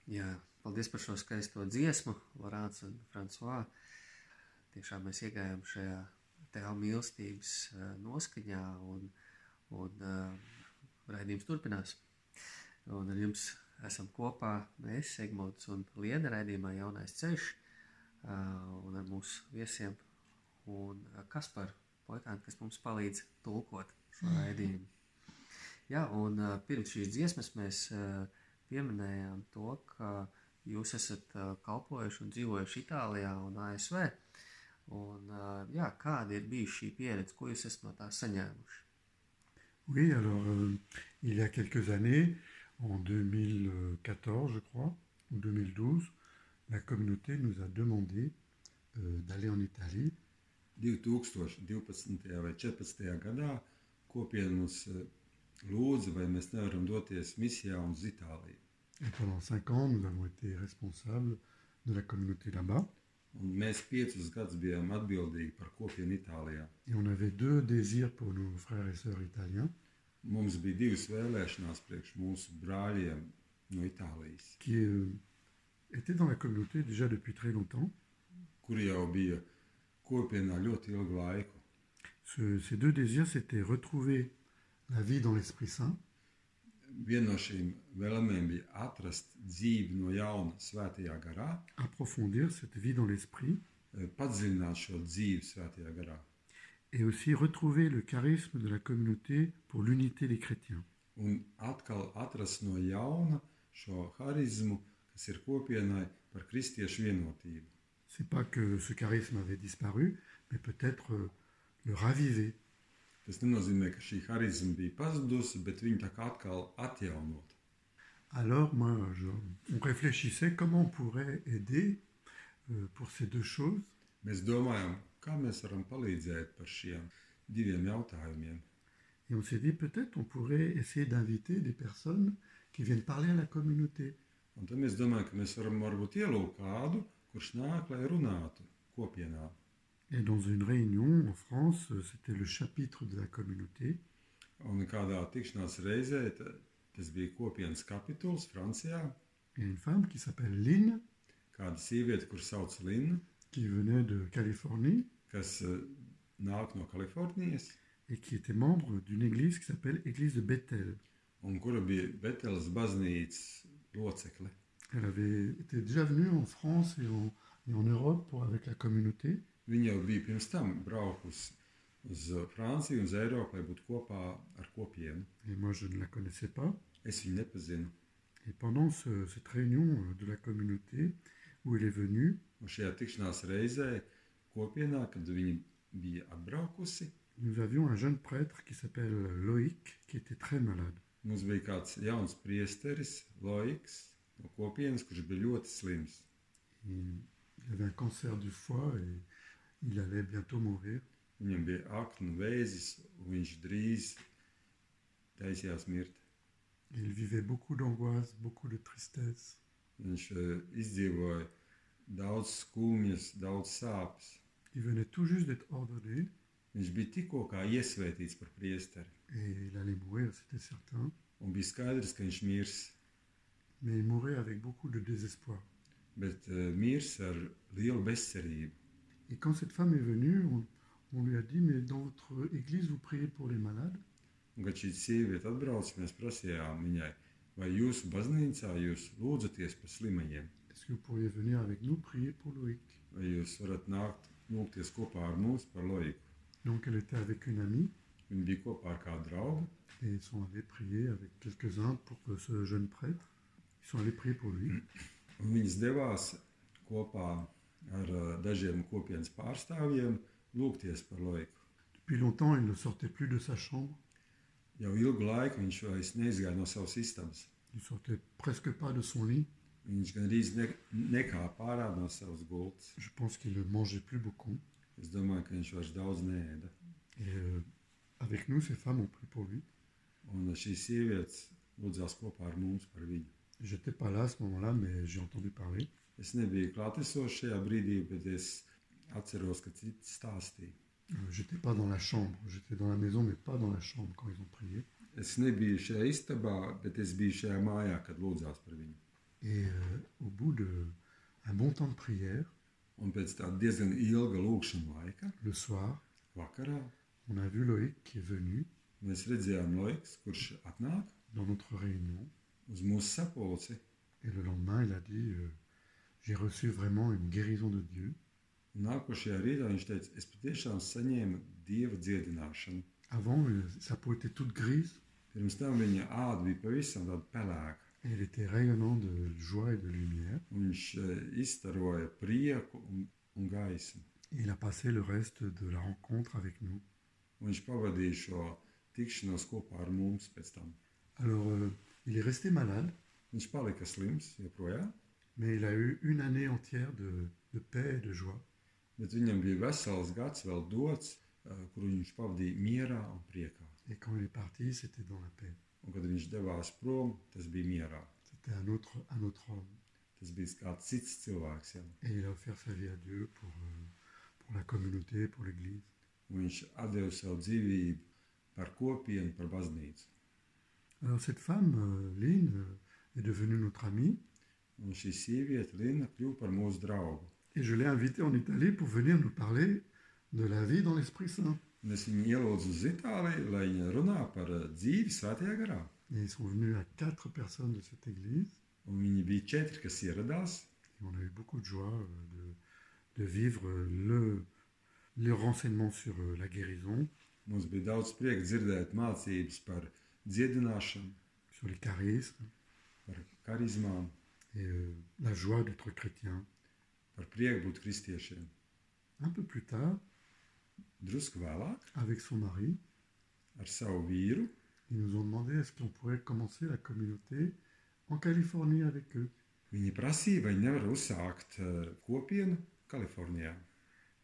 Jā, paldies par šo skaisto dziesmu, Lorāns un Frančiskā. Tiešām mēs iegājām šajā tēva mīlestības eh, noskaņā, un, un uh, raidījums turpinās. Un ar jums esam kopā mēs, Egmonts un Liena raidījumā Jaunais ceļš, uh, un ar mūsu viesiem, un eh, Kasparu Poitānu, kas mums palīdz tulkot šo raidījumu. Jā, un uh, pirms šīs dziesmas mēs uh, pieminējām to, ka jūs esat uh, kalpojuši un dzīvojuši Itālijā un ASV. Un, uh, jā, kāda ir bijusi šī pieredze, ko jūs esat no tā saņēmuši? Oui, alors euh, il y a quelques années, en 2014 je crois, ou 2012, la communauté nous a demandé euh, d'aller en Italie 2012. vai 14. gadā kopiena mums eh, lūdza, vai mēs nevaram doties misijā uz Itāliju. et pendant cinq ans nous avons été responsables de la communauté là-bas Un mēs piecus gadus bijām atbildīgi par kopienu Itālijā. et on avait deux désirs pour nos frères et sœurs italiens Mums bija divas vēlēšanās priekš mūsu brāļiem no Itālijas, qui euh, étaient dans la communauté déjà depuis très longtemps. kuri jau bija kopienā ļoti ilgu laiku. Ce- ces deux désirs, c'était retrouver la vie dans l'Esprit Saint Viena no šīm vēlmēm bija atrast dzīvi no jauna, svētajā garā, approfondir cette vie dans l'esprit eh, padziļināt šo dzīvi svētajā garā et aussi retrouver le charisme de la communauté pour l'unité des chrétiens. un atkal atrast no jauna šo harizmu, kas ir kopienai par kristiešu vienotību. C'est pas que ce charisme avait disparu, mais peut-être euh, le raviver. Tas nenozīmē, ka šī harizma bija pazudusi, bet viņa tā kā atkal atjaunot. Alors moi, je- on réfléchissait comment on pourrait aider euh, pour ces deux choses. Mēs domājam, kā mēs varam palīdzēt par šiem diviem jautājumiem. Et on s'est dit peut-être on pourrait essayer d'inviter des personnes qui viennent parler à la communauté. Un tad mēs domājam, ka mēs varam varbūt ielūgt kādu, kurš nāk, lai runātu kopienā. Et dans une réunion en France, euh, c'était le chapitre de la communauté. Un kādā tikšanās reizē, ta- tas bija kopienas kapituls Francijā, Il y a une femme qui s'appelle Lynn, kāda sieviete, kur sauc Linna, qui venait de Californie kas eh, nāk no Kalifornijas, et qui était membre d'une église qui s'appelle Église de Bethel. un kura bija Betelas baznīcas locekle. Elle avait été déjà venue en France et en, et en Europe pour, avec la communauté. Viņa jau bija pirms tam braukusi uz eh, Franciju, uz Eiropu, lai būtu kopā ar kopienu. Et moi, je ne la connaissais pas. Es viņu nepazinu. Et pendant ce- cette réunion euh, de la communauté où elle est venue, Un šajā tikšanās reizē kopienā, kad viņa bija atbraukusi, nous avions un jeune prêtre qui s'appelle Loïc, qui était très malade. mums bija kāds jauns priesteris, Loiks, no kopienas, kurš bija ļoti slims. Il il avait un cancer du foie et il allait bientôt mourir. Viņam bija aknu vēzis, un viņš drīz taisījās mirt. Il vivait beaucoup d'angoisse, beaucoup de tristesse. Viņš eh, izdzīvoja daudz skumjas, daudz sāpes. Il venait tout juste d'être ordonné Viņš bija tikko kā iesvētīts par priesteri, et il allait mourir, c'était certain. un bija skaidrs, ka viņš mirs, Mais il mourait avec beaucoup de désespoir. bet eh, mirs ar lielu bezcerību. Et quand cette femme est venue, on, on lui a dit, mais dans votre église, vous priez pour les malades Un, kad šī sieviete atbrauca, mēs prasījām viņai, vai jūsu baznīcā jūs lūdzaties par slimajiem, Est-ce que vous pourriez venir avec nous prier pour Loïc vai jūs varat nākt lūgties kopā ar mums par loģiku. Donc elle était avec une amie Viņa bija kopā ar kādu draugu, et ils sont allés prier avec quelques-uns pour que ce jeune prêtre. Ils sont allés prier pour lui. Un Viņas devās kopā ar ā, dažiem kopienas pārstāvjiem lūgties par laiku. Depuis longtemps, il ne sortait plus de sa chambre. Jau ilgu laiku viņš vairs neizgāja no savas istabas. Il sortait presque pas de son lit. Viņš gandrīz ne, nekāpa ārā no savas gultas. Je pense qu'il ne mangeait plus beaucoup. Es domāju, ka viņš vairs daudz nēda. Et euh, avec nous, ces femmes ont prié pour lui. Un šīs sievietes lūdzās kopā ar mums par viņu. J'étais pas là à ce moment-là, mais j'ai entendu parler. Es nebiju klātesošs šajā brīdī, bet es atceros, ka citi stāstīja. Euh, J'étais pas dans la chambre. J'étais dans la maison, mais pas dans la chambre quand ils ont prié. Es nebiju šajā istabā, bet es biju šajā mājā, kad lūdzās par viņu. Et euh, au bout d'un bon temps de prière, Un pēc tāda diezgan ilga lūkšanas laika, le soir, vakarā, on a vu Loïc qui est venu mēs redzējām Loiks, kurš atnāk dans notre réunion. uz mūsu sapulci. Et le lendemain, il a dit euh, J'ai reçu vraiment une guérison de Dieu. Nākošajā rītā viņš teica, es patiešām saņēmu dieva dziedināšanu. Avant, euh, sa peau était toute grise Pirms tam viņa āda bija pavisam tāda pelēka. et elle était rayonnante de joie et de lumière. un Viņš eh, izstaroja prieku un, un gaismu. Et il a passé le reste de la rencontre avec nous. Un Viņš pavadīja šo tikšanos kopā ar mums pēc tam. Alors, euh, il est resté malade, Viņš palika slims joprojām, mais il a eu une année entière de, de paix et de joie. bet viņam bija vesels gads vēl dots, eh, kuru viņš pavadīja mierā un priekā. Et quand il est parti, c'était dans la paix. Un, kad viņš devās prom, tas bija mierā. C'était un autre, un autre homme. Tas bija kāds cits cilvēks. Ja? Et il a offert sa vie à Dieu pour, euh, pour la communauté, pour l'Église. Un Viņš atdeva savu dzīvību par kopienu, par baznīcu. Alors cette femme, euh, Lynn, euh, est devenue notre amie Un šī sieviete, Lina, kļuva par mūsu draugu. et je l'ai invitée en Italie pour venir nous parler de la vie dans l'Esprit Saint. Un Es viņu ielūdzu uz Itāliju, lai viņa runā par eh, dzīvi svētajā garā. Et ils sont venus à quatre personnes de cette Église Un viņi bija četri, kas ieradās. et on a eu beaucoup de joie euh, de, de vivre euh, le, le renseignement sur euh, la guérison, Mums bija daudz prieka dzirdēt mācības par dziedināšanu, sur les charismes par karizmām, et euh, la joie d'être chrétien. par prieku būt kristiešiem. Un peu plus tard, Drusku vēlāk avec son mari, ar savu vīru Ils nous ont demandé est-ce qu'on pourrait commencer la communauté en Californie avec eux. viņi prasīja, vai nevar uzsākt eh, kopienu Kalifornijā.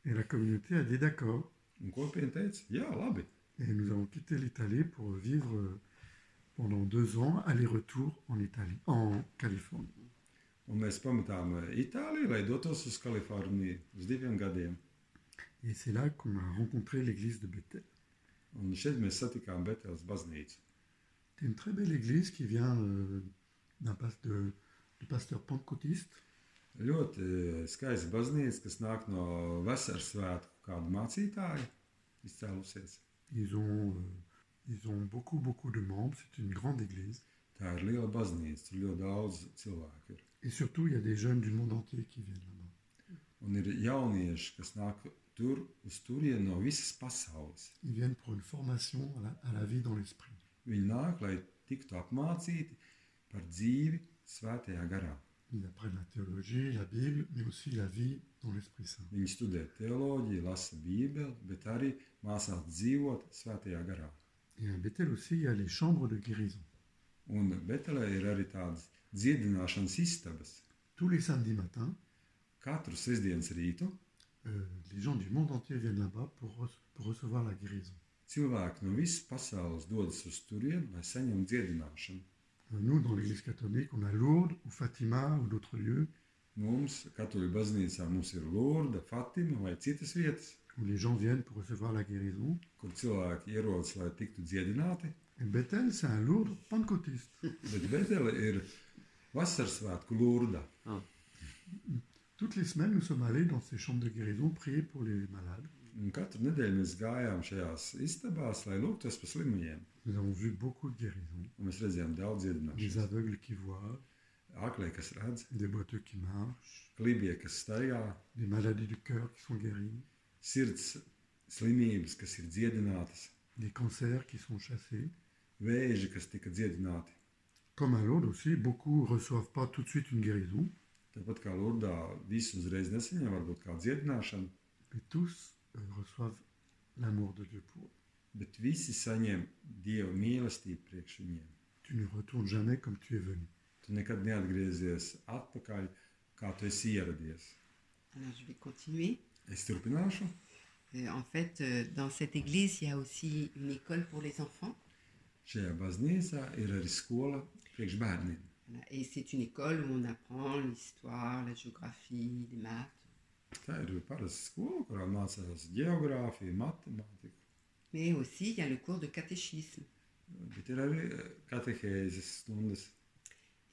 Et la communauté a dit d'accord. Un kopiena teica, jā, labi. Et nous avons quitté l'Italie pour vivre euh, pendant deux ans aller-retour en Italie, en Californie. Un mēs pametām eh, Itāliju, lai dotos uz Kaliforniju uz diviem gadiem. Et c'est là qu'on a rencontré l'église de Bethel. Un šeit mēs satikām Betelas baznīcu. C'est une très belle église qui vient euh, d'un pas- de- du pasteur pentecôtiste. Ļoti eh, skaista baznīca, kas nāk no vasaras svētku kāda mācītāja izcēlusies. Ils ont, euh, ils ont beaucoup, beaucoup de membres. C'est une grande église. Tā ir liela baznīca, tur ļoti daudz cilvēku ir. Et surtout, il y a des jeunes du monde entier qui viennent là-bas. Un ir jaunieši, kas nāk tur, uz turieni no visas pasaules. Ils viennent pour une formation à la- à la vie dans l'esprit. Viņi nāk, lai tiktu apmācīti par dzīvi svētajā garā. Ils apprennent la théologie, la Bible, mais aussi la vie dans l'Esprit Saint. Viņi studē teoloģiju, lasa Bībeli, bet arī mācās dzīvot svētajā garā. Et à Bethel aussi, il y a les chambres de guérison. Un Betelē ir arī tādas dziedināšanas istabas. Tous les samedis matins, Katru sestdienas rītu euh, les gens du monde entier viennent là-bas pour, rece- pour recevoir la guérison. cilvēki no visas pasaules dodas uz turieni, lai saņemtu dziedināšanu. Euh, Nous, dans l'Église catholique, on a Lourdes ou Fatima ou d'autres lieux Mums, katoļu baznīcā, mums ir Lorda, Fatima vai citas vietas, où les gens viennent pour recevoir la guérison. kur cilvēki ierodas, lai tiktu dziedināti. Et Bethel, c'est un Lourdes pentecôtiste. Bet Betele ir vasaras svētku lurda. Toutes les semaines, nous sommes allés dans ces chambres de guérison prier pour les malades. Un katru nedēļu mēs gājām šajās istabās, lai lūgtos par slimajiem. Nous avons vu beaucoup de guérisons. Un Mēs redzējām daudz Des dziedināšanu. aveugles qui voient, Aklē, kas redz, des boiteux qui marchent, klibie, kas staigā, des maladies du cœur qui sont guéries. sirds slimības, kas ir dziedinātas, des cancers qui sont chassés. vēži, kas tika dziedināti. Comme à Lourdes aussi, beaucoup ne reçoivent pas tout de suite une guérison, Tāpat kā Lurdā, visu uzreiz nesaņem, varbūt kā dziedināšanu, mais tous euh, reçoivent l'amour de Dieu pour eux. bet visi saņem Dieva mīlestību priekš viņiem. Tu ne retournes jamais comme tu es venu. Tu nekad neatgriezies atpakaļ, kā tu esi ieradies. Alors je vais continuer. Es turpināšu. Euh, en fait, euh, dans cette église, il y a aussi une école pour les enfants. Šajā baznīcā ir arī skola priekš bērniem. Voilà. Et c'est une école où on apprend l'histoire, la géographie, les maths. Tā ir parasta skola, kurā mācās geogrāfiju, matemātiku, Mais aussi, il y a le cours de catéchisme. bet ir arī eh, katehēzes stundas.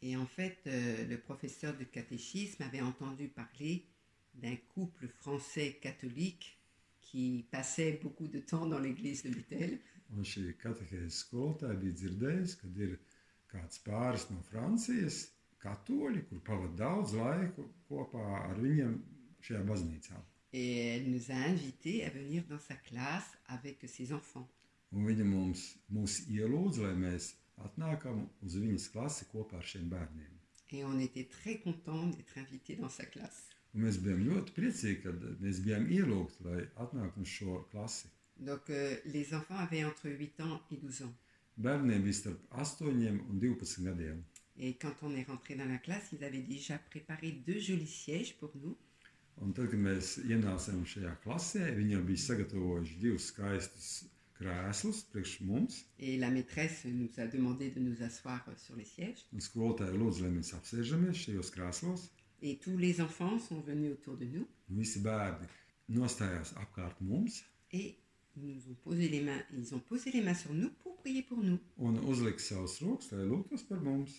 Et en fait, euh, le professeur de catéchisme avait entendu parler d'un couple français catholique qui passait beaucoup de temps dans l'église de Bethel. Un šī katehēzes skolotāja bija dzirdējusi, ka ir kāds pāris no Francijas, katoļi, kur pavadīja daudz laika kopā ar viņiem šajā baznīcā. Et elle nous a invités à venir dans sa classe avec ses enfants. Un viņa mums, mums ielūdza, lai mēs atnākam uz viņas klasi kopā ar šiem bērniem. Et on était très contents d'être invités dans sa classe. Un mēs bijām ļoti priecīgi, kad mēs bijām ielūgti, lai atnāktu uz šo klasi. Donc euh, les enfants avaient entre 8 ans et 12 ans. Bērniem bija starp 8 un 12 gadiem. Et quand on est rentré dans la classe, ils avaient déjà préparé deux jolis sièges pour nous. Un tad, kad mēs ienācām šajā klasē, viņi jau bija sagatavojuši divus skaistus krēslus priekš mums. Et la maîtresse nous a demandé de nous asseoir euh, sur les sièges. Un skolotāja lūdza, lai mēs apsēžamies šajos krēslos. Et tous les enfants sont venus autour de nous Un Visi bērni nostājās apkārt mums et ils nous ont posé les mains. Ils ont posé les mains sur nous pour prier pour nous. un uzlika savus rokas, lai lūgtos par mums.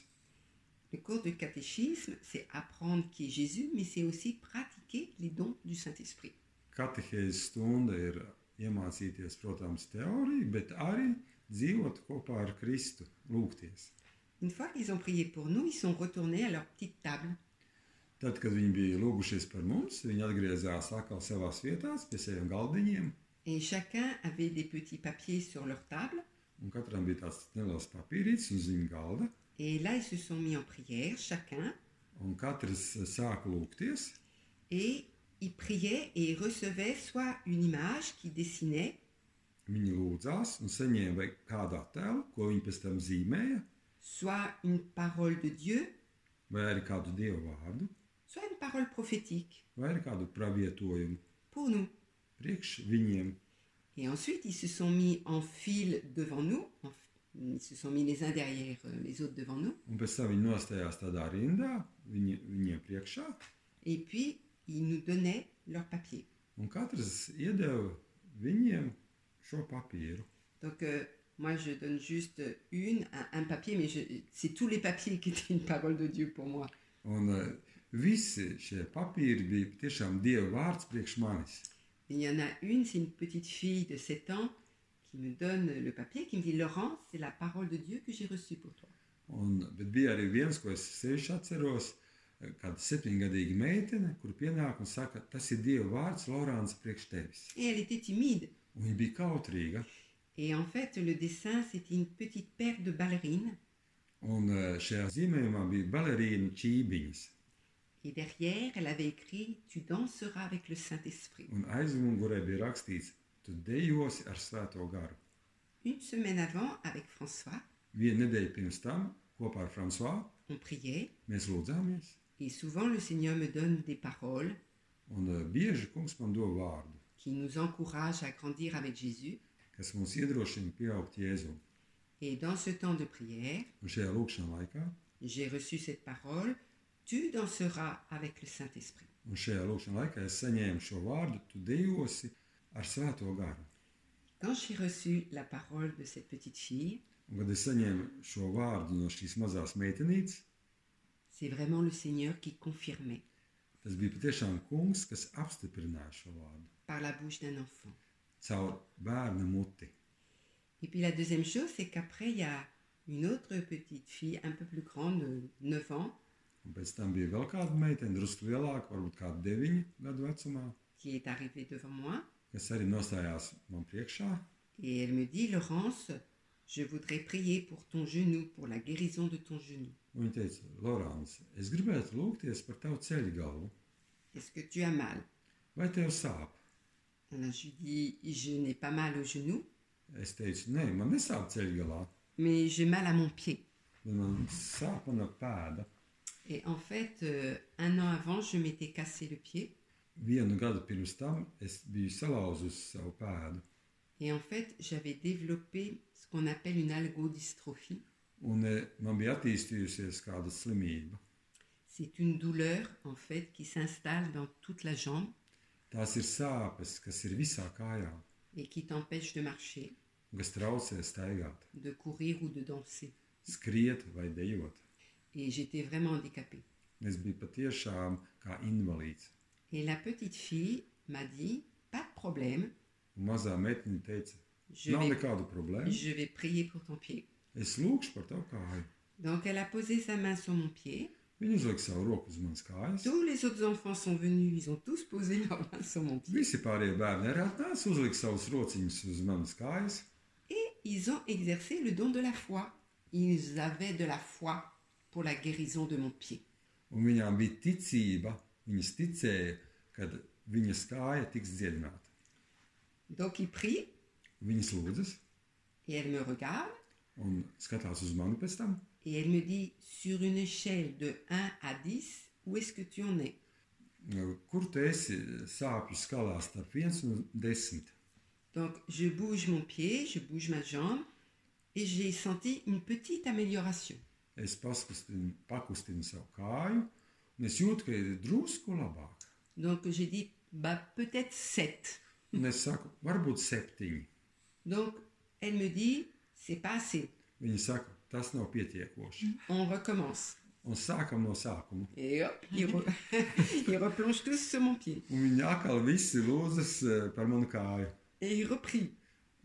Le cours de catéchisme, c'est apprendre qui est Jésus, mais c'est aussi pratiquer les dons du Saint-Esprit. Katehēzes stunda ir iemācīties, protams, teoriju, bet arī dzīvot kopā ar Kristu, lūgties. Une fois qu'ils ont prié pour nous, ils sont retournés à leur petite table. Tad, kad viņi bija lūgušies par mums, viņi atgriezās atkal savās vietās, pie saviem galdiņiem, Et chacun avait des petits papiers sur leur table. un katram bija tāds neliels papīrītis uz viņa galda, Et là, ils se sont mis en prière, chacun, un katrs sāka lūgties, et ils priaient et ils recevaient soit une image qu'ils dessinaient, viņi lūdzās un saņēma vai kādu attēlu, ko viņi pēc tam zīmēja, soit une parole de Dieu, vai arī kādu dievu vārdu, soit une parole prophétique vai arī kādu pravietojumu pour nous. priekš viņiem. Et ensuite, ils se sont mis en file devant nous. en- Ils se sont mis les uns derrière euh, les autres devant nous. Un pēc tam viņi nostājās tādā rindā, viņi, viņiem priekšā, Et puis, ils nous donnaient leurs papiers. un katrs iedeva viņiem šo papīru. Donc, euh, moi, je donne juste une, un, un papier, mais je- c'est tous les papiers qui étaient une parole de Dieu pour moi. Un eh, visi šie papīri bija tiešām dieva vārds priekš manis. Il y en a une, c'est une petite fille de 7 ans qui me donne le papier, qui me dit Laurent, c'est la parole de Dieu que j'ai reçue pour toi. Un, bet bija arī viens, ko es sevišķi atceros, eh, kāda septiņgadīga meitene, kur pienāk un saka, tas ir dieva vārds, Lorāns, priekš tevis. Et elle était timide. Un viņa bija kautrīga. Et en fait, le dessin, c'était une petite paire de ballerines. Un eh, šajā zīmējumā bija balerīna ķībiņas. Et derrière, elle avait écrit Tu danseras avec le Saint-Esprit. Un aizmugurē bija rakstīts, tu dejosi ar svēto garu. Une semaine avant, avec François, Vienu nedēļu pirms tam, kopā ar Fransuā, on priait. mēs lūdzāmies. Et souvent, le Seigneur me donne des paroles Un eh, bieži kungs man dod vārdu, qui nous encouragent à grandir avec Jésus. kas mums iedrošina pieaugt Jēzum. Et dans ce temps de prière, Un šajā lūkšanā laikā, j'ai reçu cette parole Tu danseras avec le Saint-Esprit. un šajā lūkšanā laikā es saņēmu šo vārdu, tu dejosi ar svēto garu. Quand j'ai reçu la parole de cette petite fille, Un, kad es saņēmu šo vārdu no šīs mazās meitenītes, c'est vraiment le Seigneur qui confirmait tas bija patiešām kungs, kas apstiprināja šo vārdu par la bouche d'un enfant. caur bērnu muti. Et puis la deuxième chose, c'est qu'après, il y a une autre petite fille, un peu plus grande, euh, 9 ans, Un pēc tam bija vēl kāda meitene, drusku lielāka, varbūt kāda deviņu gadu vecumā, qui est arrivée devant moi. kas arī nostājās man priekšā. Et elle me dit, Laurence, je voudrais prier pour ton genou, pour la guérison de ton genou. un Viņa teica, Lorāns, es gribētu lūgties par tavu ceļu galvu. Est-ce que tu as mal Vai tev sāp? Alors je lui dis, je n'ai pas mal au genou, Es teicu, nē, man nesāp ceļu galā, mais j'ai mal à mon pied. bet man sāp mana pēda. Et en fait, euh, un an avant, je m'étais cassé le pied. Vienu gadu pirms tam es biju salauzusi savu pēdu, Et en fait, j'avais développé ce qu'on appelle une algodystrophie. un eh, man bija attīstījusies kāda slimība. C'est une douleur, en fait, qui s'installe dans toute la jambe Tās ir sāpes, kas ir visā kājā, et qui t'empêche de marcher, un kas traucē staigāt, de courir ou de danser. skriet vai dejot. et j'étais vraiment handicapée. Es biju patiešām kā invalīds. Et la petite fille m'a dit, pas de problème, Un mazā meitene teica, je nav vais, nekādu problēmu. je vais prier pour ton pied. Es lūgšu par tavu kāju. Donc elle a posé sa main sur mon pied. Viņa uzliek savu roku uz manas kājas. Tous les autres enfants sont venus, ils ont tous posé leur main sur mon pied. Visi pārējie bērni arī atnāca, uzlika savus rociņus uz manas kājas. Ils ont exercé le don de la foi. Ils avaient de la foi pour la guérison de mon pied. Un viņām bija ticība, viņas ticēja, ka viņas kāja tiks dziedināta. Donc ils prient Viņas lūdzas et elle me regarde un skatās uz mani pēc tam. et elle me dit sur une échelle de 1 à 10, où est-ce que tu en es Kur tu esi sāpju skalā starp 1 un 10? Donc je bouge mon pied, je bouge ma jambe et j'ai senti une petite amélioration. Es paskustinu, pakustinu savu kāju, un es jūtu, ka ir drusku labāk. Donc j'ai dit bah peut-être 7. Un es saku, varbūt septiņi. Donc elle me dit c'est pas assez. Viņa saka, tas nav pietiekoši. On recommence. Un sākam no sākuma. Et hop, ils, re- ils replongent tous sur mon pied. Un viņi atkal visi lūdzas eh, par manu kāju. Et ils reprient.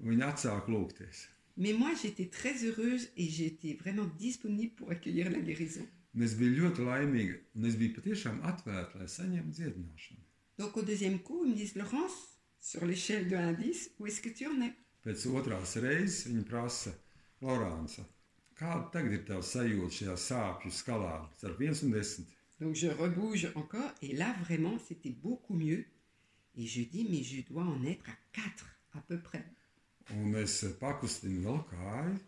Un Viņi atsāk lūgties. Mais moi j'étais très heureuse et j'étais vraiment disponible pour accueillir la guérison. Un es biju ļoti laimīga, un es biju patiešām atvērta, lai saņemtu dziedināšanu. Donc au deuxième coup, ils me disent Laurence, sur l'échelle de 1 à 10, où est-ce que tu en es Pēc otrās reizes viņa prasa, Lorāns, kāda tagad ir tava sajūta šajā sāpju skalā starp 1 un 10? Donc je rebouge encore et là vraiment c'était beaucoup mieux. Et je dis mais je dois en être à 4 à peu près. Un es eh, pakustinu vēl kāju,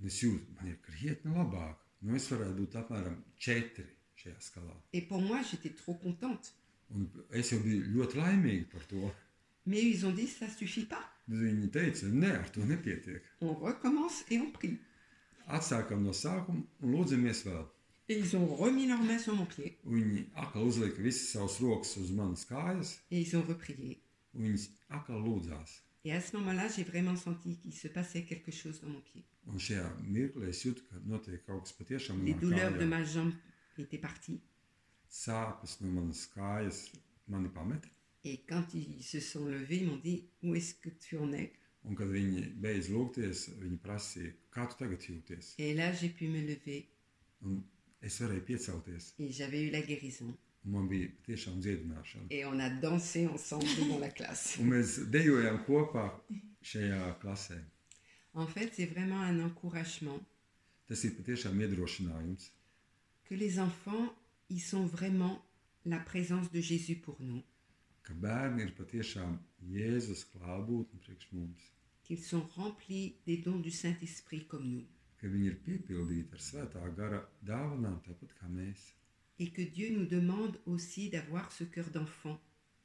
un es jūtu, man ir krietni labāk. Nu, es varētu būt apmēram 4 šajā skalā. Et pour moi j'étais trop contente. Un es jau biju ļoti laimīga par to. Mais ils ont dit ça suffit pas. Bet Viņi teica, nē, ar to nepietiek. On recommence et on prie. Atsākam no sākuma un lūdzamies vēl. Et ils ont remis leurs mains sur mon pied Viņi atkal uzlika visas savas rokas uz manas kājas, et ils ont reprié. un viņas atkal lūdzās. Et à ce moment-là j'ai vraiment senti qu'il se passait quelque chose dans mon pied. Un šajā mirklī es jūtu, ka notiek kaut kas patiešām Les douleurs de manis. ma jambe étaient parties. Sāpes no manas kājas mani pameta. Et quand ils se sont levés, ils m'ont dit Où est-ce que tu en es Un, kad viņi beidz lūgties, viņi prasīja, kā tu tagad jūties. Et là j'ai pu me lever Un es varēju piecelties, et j'avais eu la guérison. un man bija tiešām dziedināšana. Et on a dansé ensemble dans la classe. Un mēs dejojām kopā šajā klasē. En fait, c'est vraiment un encouragement Tas ir patiešām iedrošinājums, que les enfants, ils sont vraiment la présence de Jésus pour nous, ka bērni ir patiešām Jēzus klātbūtne priekš mums, qu'ils sont remplis des dons du Saint-Esprit comme nous, ka viņi ir piepildīti ar svētā gara dāvanām, tāpat kā mēs. et que Dieu nous demande aussi d'avoir ce cœur d'enfant,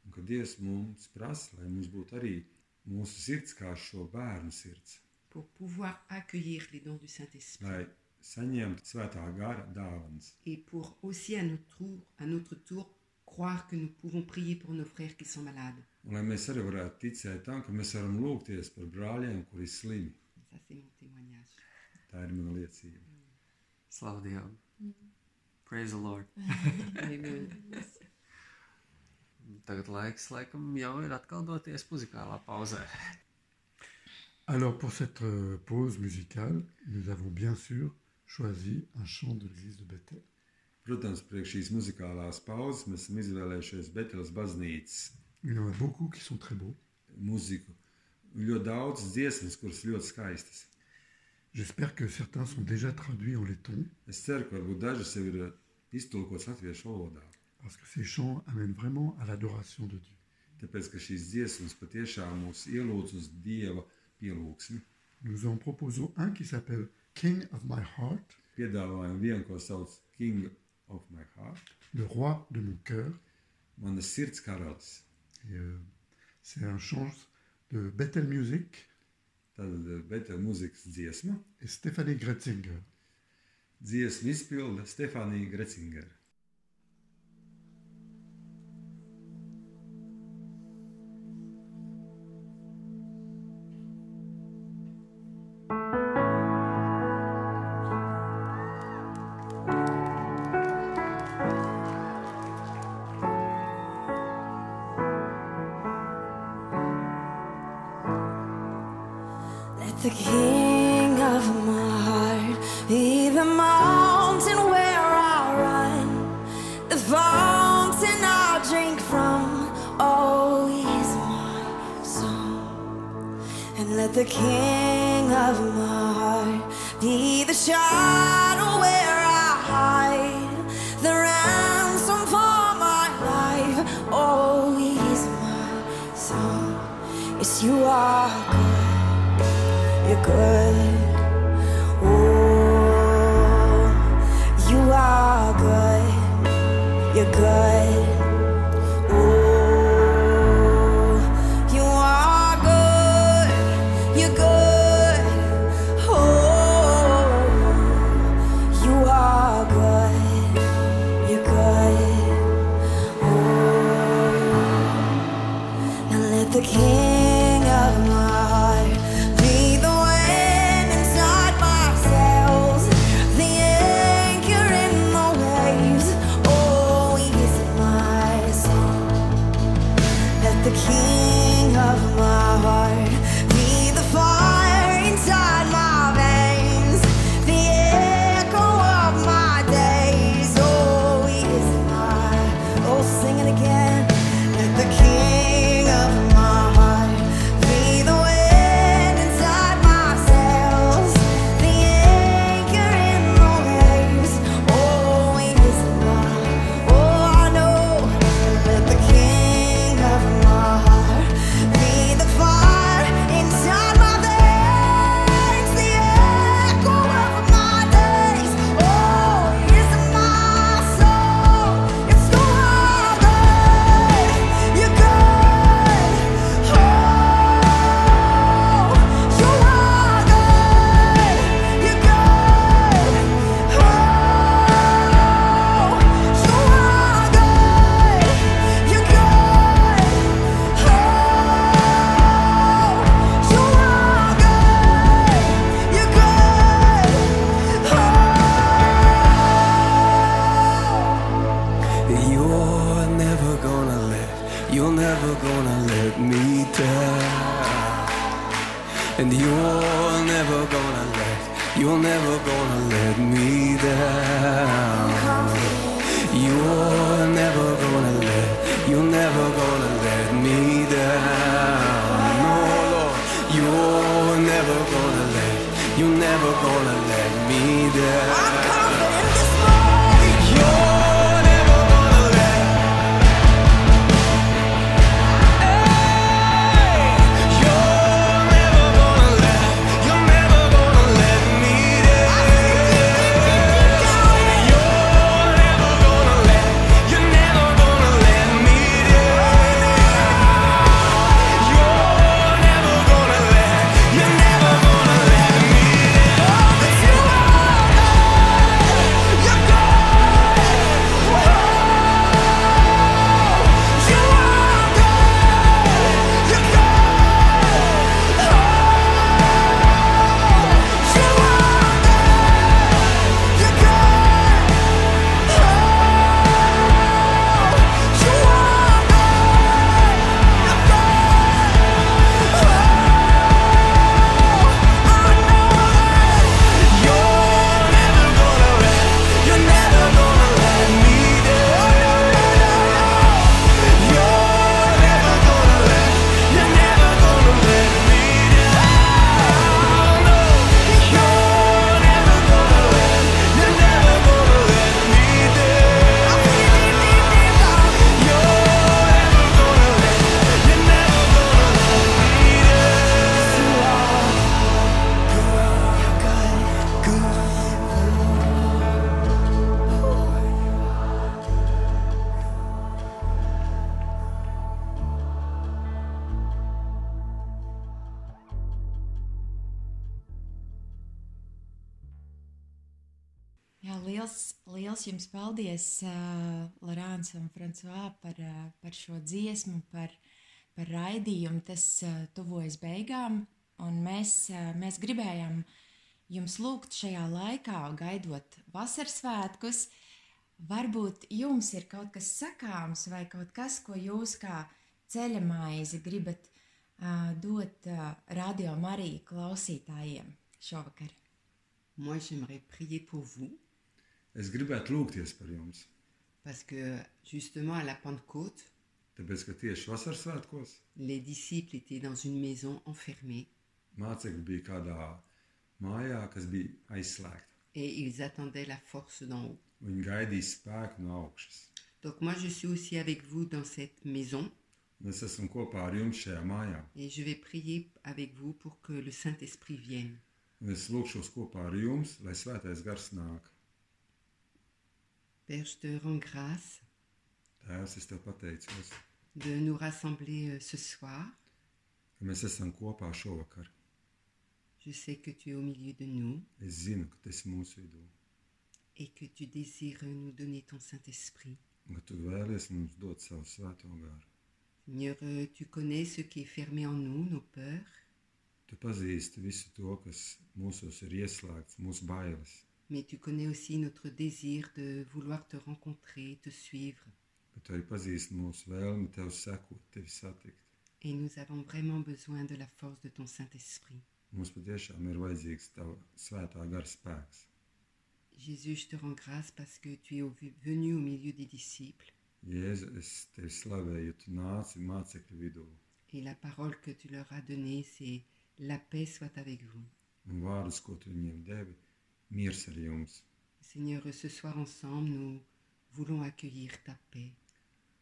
Un ka Dievs mums prasa, lai mums būtu arī mūsu sirds kā šo bērnu sirds, pour pouvoir accueillir les dons du Saint-Esprit, lai saņemtu svētā gara dāvanas. et pour aussi à notre tour, à notre tour croire que nous pouvons prier pour nos frères qui sont malades. Un lai mēs arī varētu ticēt tam, ka mēs varam lūgties par brāļiem, kuri ir slimi. Ça, c'est mon témoignage. Tā ir mana liecība. Slavu Dievam! Praise the Lord! Amen. Tagad laiks, laikam, jau ir atkal doties muzikālā pauzē. Alors pour cette euh, pause musicale, nous avons bien sûr choisi un chant de l'église de Bethel. Protams, priekš šīs muzikālās pauzes mēs esam izvēlējušies Betelas baznīcas Il y en a beaucoup qui sont très beaux. muziku. Ļoti daudz dziesmas, kuras ļoti skaistas. J'espère que certains sont déjà traduits en laiton, Es ceru, ka varbūt dažas jau ir iztulkotas latviešu valodā. parce que ces chants amènent vraiment à l'adoration de Dieu. Tāpēc, ka šīs dziesmas patiešām mūs ielūdz uz Dieva pielūgsmi. Nous en proposons un qui s'appelle King of My Heart, Piedāvājam vienu, ko sauc King of My Heart, le roi de mon cœur. manas sirds karalis. Et, euh, c'est un chant de Bethel Music Tad beta mūzikas dziesma, et Stéphanie Gretzinger. dziesma izpilda Stefānija Grecingera. the king of my heart. Be the mountain where I run, the fountain I drink from. Oh, he's my song. And let the king of my heart be the shadow where I hide, the ransom for my life. Oh, he's my song. Yes, you are good. You're good. Oh, you are good. You're good. Oh, you are good. You're good. Oh, you are good. You're good. Oh. Now let the king of my heart be the wind inside my sails, the anchor in the waves. Oh, he's my song. Let the king of my heart be the fire inside my veins, the echo of my days. Oh, he is my. Oh, sing it again. Let the king of my heart be the wind inside my sails, the anchor in the waves. Oh, he is my. Oh, I know. Let the king of my heart be the fire inside my veins, the echo of my days. Oh, he is my soul. It's no other. You're good. Oh, you are good. You're good. Oh, you are good. You're good. Oh, you are good. You're good. Oh. You're never gonna let, you're never gonna let me down. And you're never gonna let, you're never gonna let me down. You're never gonna let, you're never gonna let me down. No, Lord, you're never gonna let, you're never gonna let me down. I'm confident this morning. You're never gonna let You're never gonna let You're never gonna let me down You're never gonna let You're never gonna let me down You're never gonna let You're never gonna let me down You You're good. Oh, you are good. You're good. Oh, you are good. You're good. Oh, you are good. You're good. Oh, I know that. You're never gonna let, you're never gonna let me down. You're never gonna let, you're never gonna let me down. No, you're never gonna let, you're never gonna let me down. You're never gonna let, you're never gonna let me down. Jā, liels, liels jums paldies, uh, Lorāns un Frančiskā, par, uh, par šo dziesmu, par, par raidījumu. Tas uh, tuvojas beigām, un mēs, uh, mēs gribējām jums lūgt šajā laikā, gaidot vasaras svētkus. Varbūt jums ir kaut kas sakāms vai kaut kas, ko jūs kā ceļamaizi gribat ā, dot ā, radio Mariju klausītājiem šovakar? Moi, j'aimerais prier pour vous Es gribētu lūgties par jums, parce que justement à la Pentecôte, tāpēc, ka tieši vasaras svētkos les disciples étaient dans une maison enfermée mācekļi bija kādā mājā, kas bija aizslēgta. et ils attendaient la force d'en haut. Viņi gaidīja spēku no augšas. Donc moi, je suis aussi avec vous dans cette maison Un Es esmu kopā ar jums šajā mājā, et je vais prier avec vous pour que le Saint-Esprit vienne. un es lūgšos kopā ar jums, lai svētais gars nāk. Père, je te rends grâce Tēvs, es tev pateicos, de nous rassembler euh, ce soir. ka mēs esam kopā šovakar. Je sais que tu es au milieu de nous Es zinu, ka tas ir mūsu vidū, et que tu désires nous donner ton Saint-Esprit. un ka tu vēlies mums dot savu svēto gāru. Seigneur, euh, tu connais ce qui est fermé en nous, nos peurs, Tu pazīsti visu to, kas mūsos ir ieslēgts, mūsu bailes, mais tu connais aussi notre désir de vouloir te rencontrer, te suivre. bet tu arī pazīsti mūsu vēlmi tev sekot, tevi satikt. Et nous avons vraiment besoin de la force de ton Saint-Esprit. Mums patiešām ir vajadzīgs tava svētā gara spēks. Jésus, je te rends grâce parce que tu es au- venu au milieu des disciples. Jēzu, es tevi slavēju, jo tu nāci mācekļu vidū, Et la parole que tu leur as donnée, c'est La paix soit avec vous. un vārdus, ko tu viņiem devi, miers ar jums. Seigneur, ce soir ensemble, nous voulons accueillir ta paix,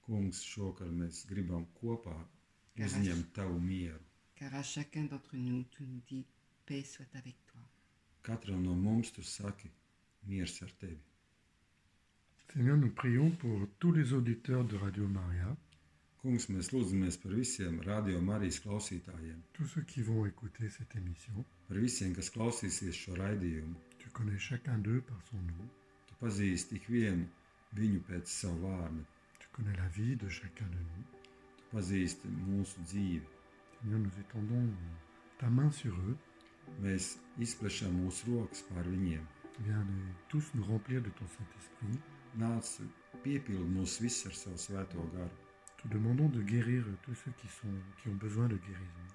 Kungs, šokar mēs gribam kopā Jā. uzņemt tavu mieru. car à chacun d'entre nous, tu nous dis Paix soit avec toi. Katram no mums tu saki, miers ar tevi. Seigneur, nous prions pour tous les auditeurs de Radio Maria, Kungs, mēs lūdzamies par visiem radio Marijas klausītājiem, tous ceux qui vont écouter cette émission. par visiem, kas klausīsies šo raidījumu. Tu connais chacun d'eux par son nom. Tu pazīsti ikvienu viņu pēc savu vārdu, Tu connais la vie de chacun de nous. tu pazīsti mūsu dzīvi. Seigneur, nous étendons ta main sur eux. Mēs izplešam mūsu rokas pār viņiem. Viens les- tous nous remplir de ton Saint-Esprit. Nāc, piepildi mūs visus ar savu svēto garu. Te demandons de guérir tous ceux qui, sont, qui ont besoin de guérison.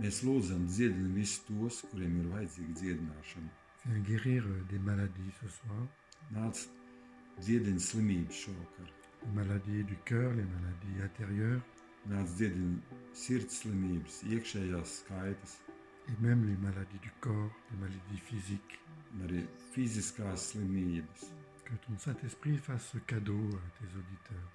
Mēs lūdzam, dziedini visus tos, kuriem ir vajadzīga dziedināšana. Viens guérir euh, des maladies ce soir, Nāc, dziedini slimību šovakar, les maladies du cœur, les maladies intérieures nāc, dziedini sirds slimības, iekšējās skaitas, et même les maladies du corps, les maladies physiques. un arī fiziskās slimības. Que ton Saint-Esprit fasse ce cadeau à tes auditeurs.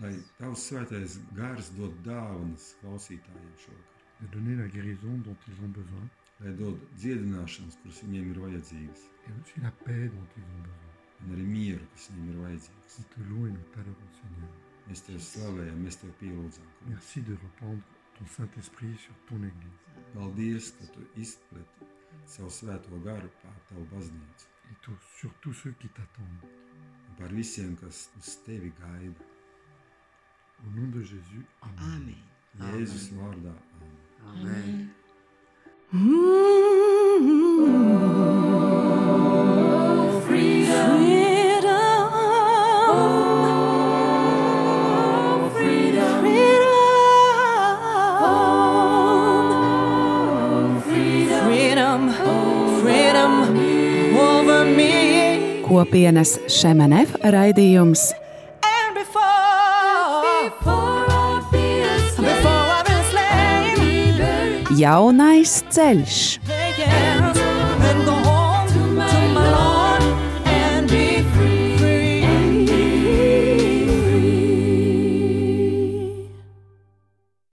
Lai tavs svētais gars dod dāvanas klausītājiem šovakar, de donner la guérison dont ils ont besoin lai dod dziedināšanas, kuras viņiem ir vajadzīgas, et aussi la paix dont ils ont besoin. un arī mieru, kas viņiem ir vajadzīgs. Nous te louons et nous t'adorons, Seigneur. Mēs tevi slavējam, mēs tevi pielūdzam. kungs. Merci de reprendre ton Saint-Esprit sur ton Église Paldies, ka tu izpleti savu svēto garu pār tavu baznīcu. et tout- sur tous ceux qui t'attendent. un Par visiem, kas uz tevi gaida. Au nom de Jésus, Amen. Amen. Jēzus vārdā. Amen. Freedom, freedom over me. Kopienas Šemenef raidījums And before, before I be a slave, before I be a slave, Jaunais ceļš. yeah.